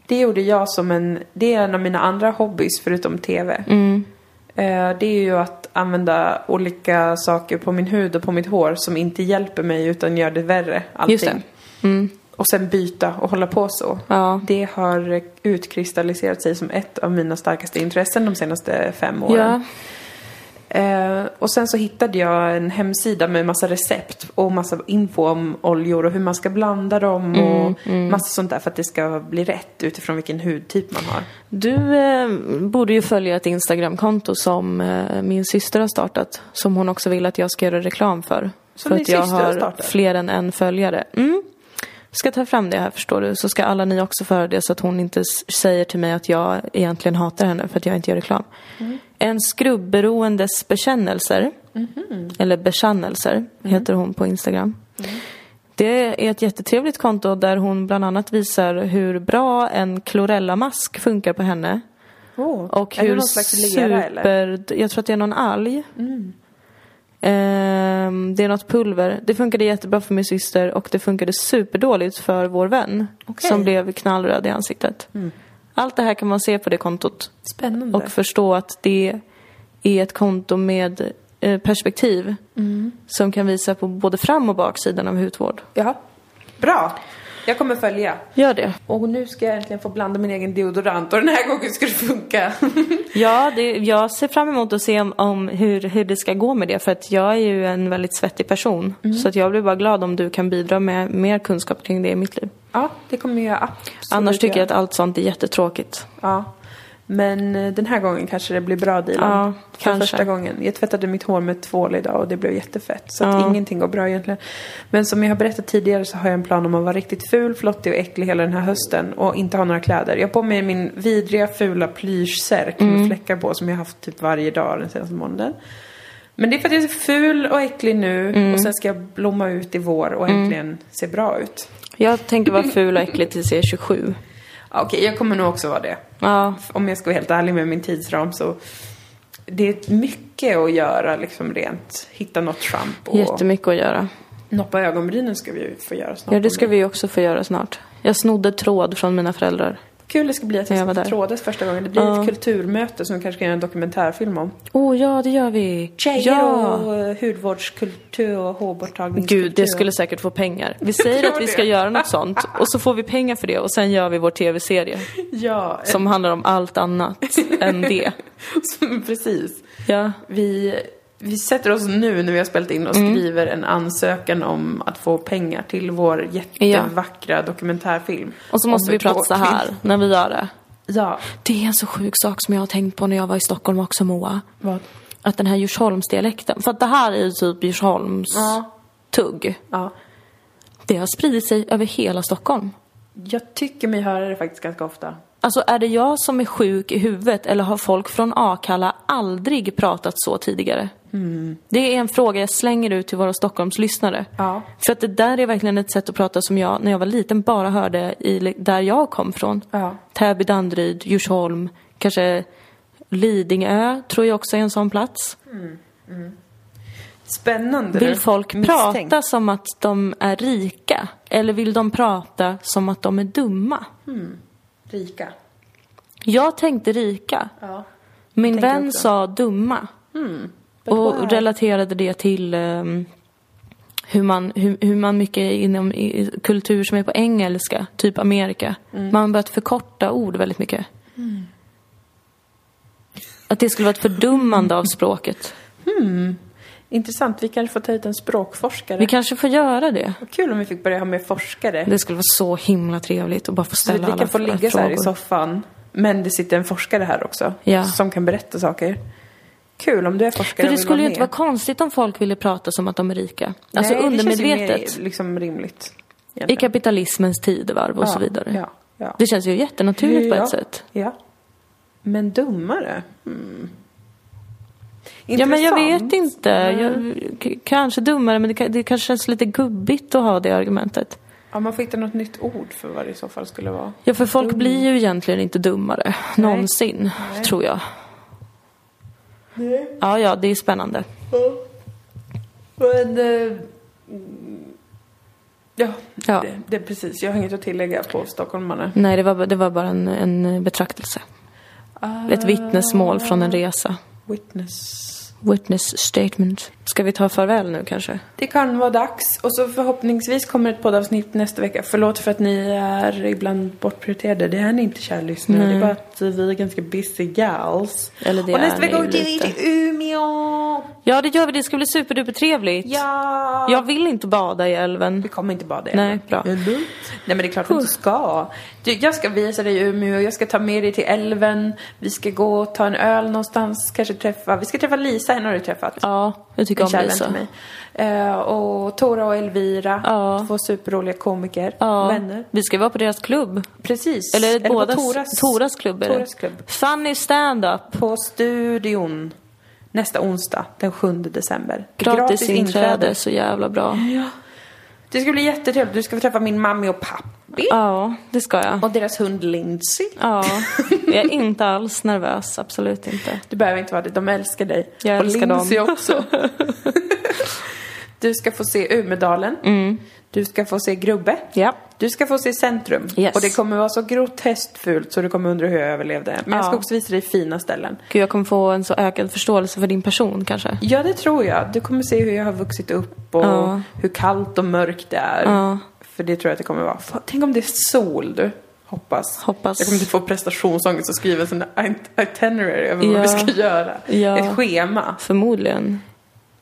Det gjorde jag som en, det är en av mina andra hobbys förutom TV. Mm. Eh, Det är ju att använda olika saker på min hud och på mitt hår som inte hjälper mig utan gör det värre. Allting. Just det. Mm. och sen byta och hålla på så. Ja. Det har utkristalliserat sig som ett av mina starkaste intressen de senaste fem åren. Ja. Eh, och sen så hittade jag en hemsida med massa recept och massa info om oljor och hur man ska blanda dem Mm, och massa sånt där för att det ska bli rätt utifrån vilken hudtyp man har. Du eh, borde ju följa ett Instagramkonto som eh, min syster har startat. Som hon också vill att jag ska göra reklam för. Som för din att jag syster har har startat? fler än en följare. Mm. Ska ta fram det här förstår du. Så ska alla ni också föra det så att hon inte s- säger till mig att jag egentligen hatar henne för att jag inte gör reklam. En skrubberoendes bekännelser. Eller bekännelser heter hon på Instagram. Det är ett jättetrevligt konto där hon bland annat visar hur bra en chlorellamask funkar på henne. Och är hur det någon slags lera eller? super... Jag tror att det är någon alg. Ehm, det är något pulver. Det funkade jättebra för min syster och det funkade superdåligt för vår vän. Okej. Mm. Som blev knallröd i ansiktet. Allt det här kan man se på det kontot. Spännande. Och förstå att det är ett konto med eh, perspektiv. Mm. Som kan visa på både fram och baksidan av hudvård. Ja. Bra! Jag kommer följa. Gör det. Och nu ska jag äntligen få blanda min egen deodorant och den här gången ska det funka. Ja, det, jag ser fram emot att se om, om hur, hur det ska gå med det. För att jag är ju en väldigt svettig person. Så att jag blir bara glad om du kan bidra med mer kunskap kring det i mitt liv. ja, det kommer jag absolut Annars tycker jag göra. att allt sånt är jättetråkigt. Ja. Men eh, den här gången kanske det blir bra dealen. Ja, För kanske. första gången. Jag tvättade mitt hår med tvål idag och det blev jättefett. Så att Ja. ingenting går bra egentligen. Men som jag har berättat tidigare så har jag en plan om att vara riktigt ful, flottig och äcklig hela den här hösten. Och inte ha några kläder. Jag har på mig min vidriga fula plyschsärk med fläckar på som jag har haft typ varje dag den senaste månaden. Men det är för att jag är så ful och äcklig nu och sen ska jag blomma ut i vår och äntligen se bra ut. Jag tänker vara ful och äcklig tills jag är 27. Ja, Okej, jag kommer nog också vara det. Ja, Om jag ska vara helt ärlig med min tidsram så det är mycket att göra liksom rent. Hitta något schampo och jättemycket att göra. noppa ögonbrynen ska vi ju få göra snart. Ja, det ska om vi ju också få göra snart. Jag snodde tråd från mina föräldrar. Kul det ska bli att När jag var testa där. trådet första gången. Det blir Ja. ett kulturmöte som vi kanske kan göra en dokumentärfilm om. Oh ja, det gör vi! Tjejer ja! och eh, hudvårdskultur och hårborttagningskultur. Gud, det skulle säkert få pengar. Vi säger tror att vi det. ska göra något sånt och så får vi pengar för det och sen gör vi vår tv-serie. Ja, som... Som handlar om allt annat än det. precis. Ja. Vi, vi sätter oss nu när vi har spelat in och Mm. skriver en ansökan om att få pengar till vår jättevackra dokumentärfilm. Och så Om måste vi ett prata år så här till. när vi gör det. Ja. Det är en så sjuk sak som jag har tänkt på när jag var i Stockholm också Moa. Vad? Att den här Djursholmsdialekten, för att det här är ju typ Djursholms Ja. tugg. Ja. Det har spridit sig över hela Stockholm. Jag tycker mig höra det faktiskt ganska ofta. Alltså är det jag som är sjuk i huvudet eller har folk från Akalla aldrig pratat så tidigare? Mm. Det är en fråga jag slänger ut till våra Stockholmslyssnare. Ja. För att det där är verkligen ett sätt att prata som jag när jag var liten bara hörde i, där jag kom från. Ja. Täby, Danderyd, Djursholm, kanske Lidingö tror jag också är en sån plats. Spännande. Vill folk Misstänkt. prata som att de är rika? Eller vill de prata som att de är dumma? Rika. Jag tänkte rika. Ja. Min tänker vän också. Mm. sa dumma. och why? relaterade det till ehm, hur, man, hur, hur man mycket inom i, i kultur som är på engelska, typ Amerika, Mm. man har börjat förkorta ord väldigt mycket. Att det skulle vara ett fördummande av språket. Intressant. Vi kanske får ta hit en språkforskare. Vi kanske får göra det. Vad Kul om vi fick börja ha med forskare. Det skulle vara så himla trevligt att bara få så ställa vi alla kan få ligga så här i soffan. Men det sitter en forskare här också. Ja. Som kan berätta saker. Kul om du är forskare För det och vill skulle ju vara inte med. vara konstigt om folk ville prata som att de är rika. Alltså Nej, det känns ju undermedvetet. mer, liksom rimligt. I egentligen. kapitalismens tidevarv och Ja, så vidare. Ja. ja. Det känns ju jättenaturligt på Ja, ett sätt. Ja. Men dummare? Mm. Ja men jag Intressant. vet inte. Jag, k- kanske dummare men det, ka- det kanske känns lite gubbigt att ha det argumentet. Ja, man får hitta något nytt ord för vad det i så fall skulle vara. Ja för folk blir ju egentligen inte dummare. Någonsin. Tror jag. Ja ja, det är spännande. Men, eh, ja, Ja. Det, det är precis. Jag har inget att tillägga på stockholmarna. Nej det var, det var bara en, Ah. en betraktelse. Ett vittnesmål från en resa. Witness. witness statement. Ska vi ta farväl nu kanske? Det kan vara dags. Och så förhoppningsvis kommer ett poddavsnitt nästa vecka. Förlåt för att ni är ibland bortprioriterade. Det är ni inte kära lyssnare. Det är bara att vi är ganska busy gals. Eller det och är nästa vecka ni åker vi lite. till Umeå. Ja, det gör vi. Det ska bli superdupertrevligt. Ja. Jag vill inte bada i älven. Vi kommer inte bada i Nej, älven. bra. Ändå. Nej men det är klart vi inte ska. Du, jag ska visa dig Umeå, jag ska ta med dig till älven. Vi ska gå och ta en öl någonstans, kanske träffa. Vi ska träffa Lisa, henne har du träffat. Ja, jag tycker En om kär vän Lisa. till mig. Eh, och Tora och Elvira, Ja. två superroliga komiker, Ja, vänner. vi ska vara på deras klubb. Precis. Eller, på bådas, Toras, Toras klubb är det. Toras klubb. Funny stand-up. På Studion nästa onsdag, den 7 december. Gratis, inträde, så jävla bra. Det ska bli jättetrevligt. Du ska få träffa min mamma och pappi. Ja, det ska jag. Och deras hund Lindsay. Ja, jag är inte alls nervös. Absolut inte. Du behöver inte vara det, de älskar dig. Jag och älskar dem. Lindsay också. du ska få se Umedalen. Mm. Du ska få se Grubbe. Ja. Du ska få se Centrum. Yes. Och det kommer vara så groteskt fult så du kommer undra hur jag överlevde. Men jag ska Ja. också visa dig fina ställen. Gud, jag kommer få en så ökad förståelse för din person kanske. Ja, det tror jag. Du kommer se hur jag har vuxit upp och Ja. hur kallt och mörkt det är. Ja. För det tror jag att det kommer vara. Fan, Tänk om det är sol, du. Hoppas. Hoppas. Jag kommer inte få prestationsångest och skriva en sån där it- itinerary över vad Ja. vi ska göra. Ja. Ett schema. Förmodligen.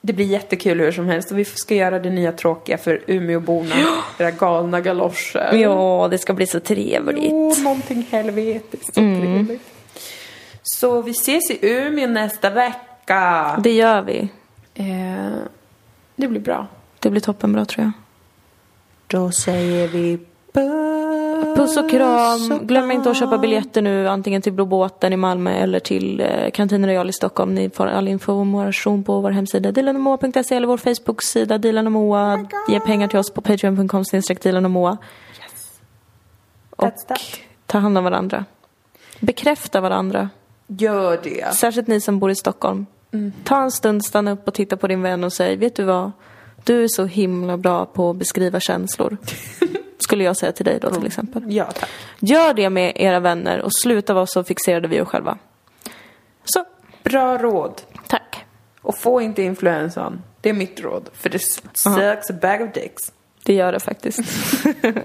Det blir jättekul hur som helst och vi ska göra det nya tråkiga för Umeåborna. Era galna galoscher. Ja, det ska bli så Jo, trevligt. någonting helvetiskt. Så trevligt. Mm. Så vi ses i Umeå nästa vecka. Det gör vi. Eh, det blir bra. Det blir toppenbra tror jag. Då säger vi puss. Puss och kram. Glöm inte att köpa biljetter nu, antingen till Blå båten i Malmö eller till eh, Cantina Royal i Stockholm. Ni får all information på vår hemsida dilanomoa.se eller vår Facebook-sida Dilan och Moa. Ge pengar till oss på patreon.com snedstreck Dilan och Moa. Och That's that. ta hand om varandra. Bekräfta varandra. Gör det. Särskilt ni som bor i Stockholm. Ta en stund, stanna upp och titta på din vän och säg, vet du vad? Du är så himla bra på att beskriva känslor. Skulle jag säga till dig då till exempel. Ja, tack. Gör det med era vänner och sluta vara så fixerade vid er själva. Så, Bra råd. tack. Och få inte influensan. Det är mitt råd. För det sucks a bag of dicks. Det gör det faktiskt.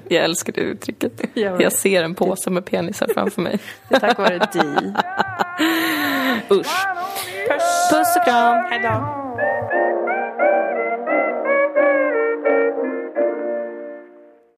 jag älskar det uttrycket. Jag Jag, med. ser en påse med penisar framför mig. Det är tack vare dig. Usch. Puss och kram. Hejdå. home.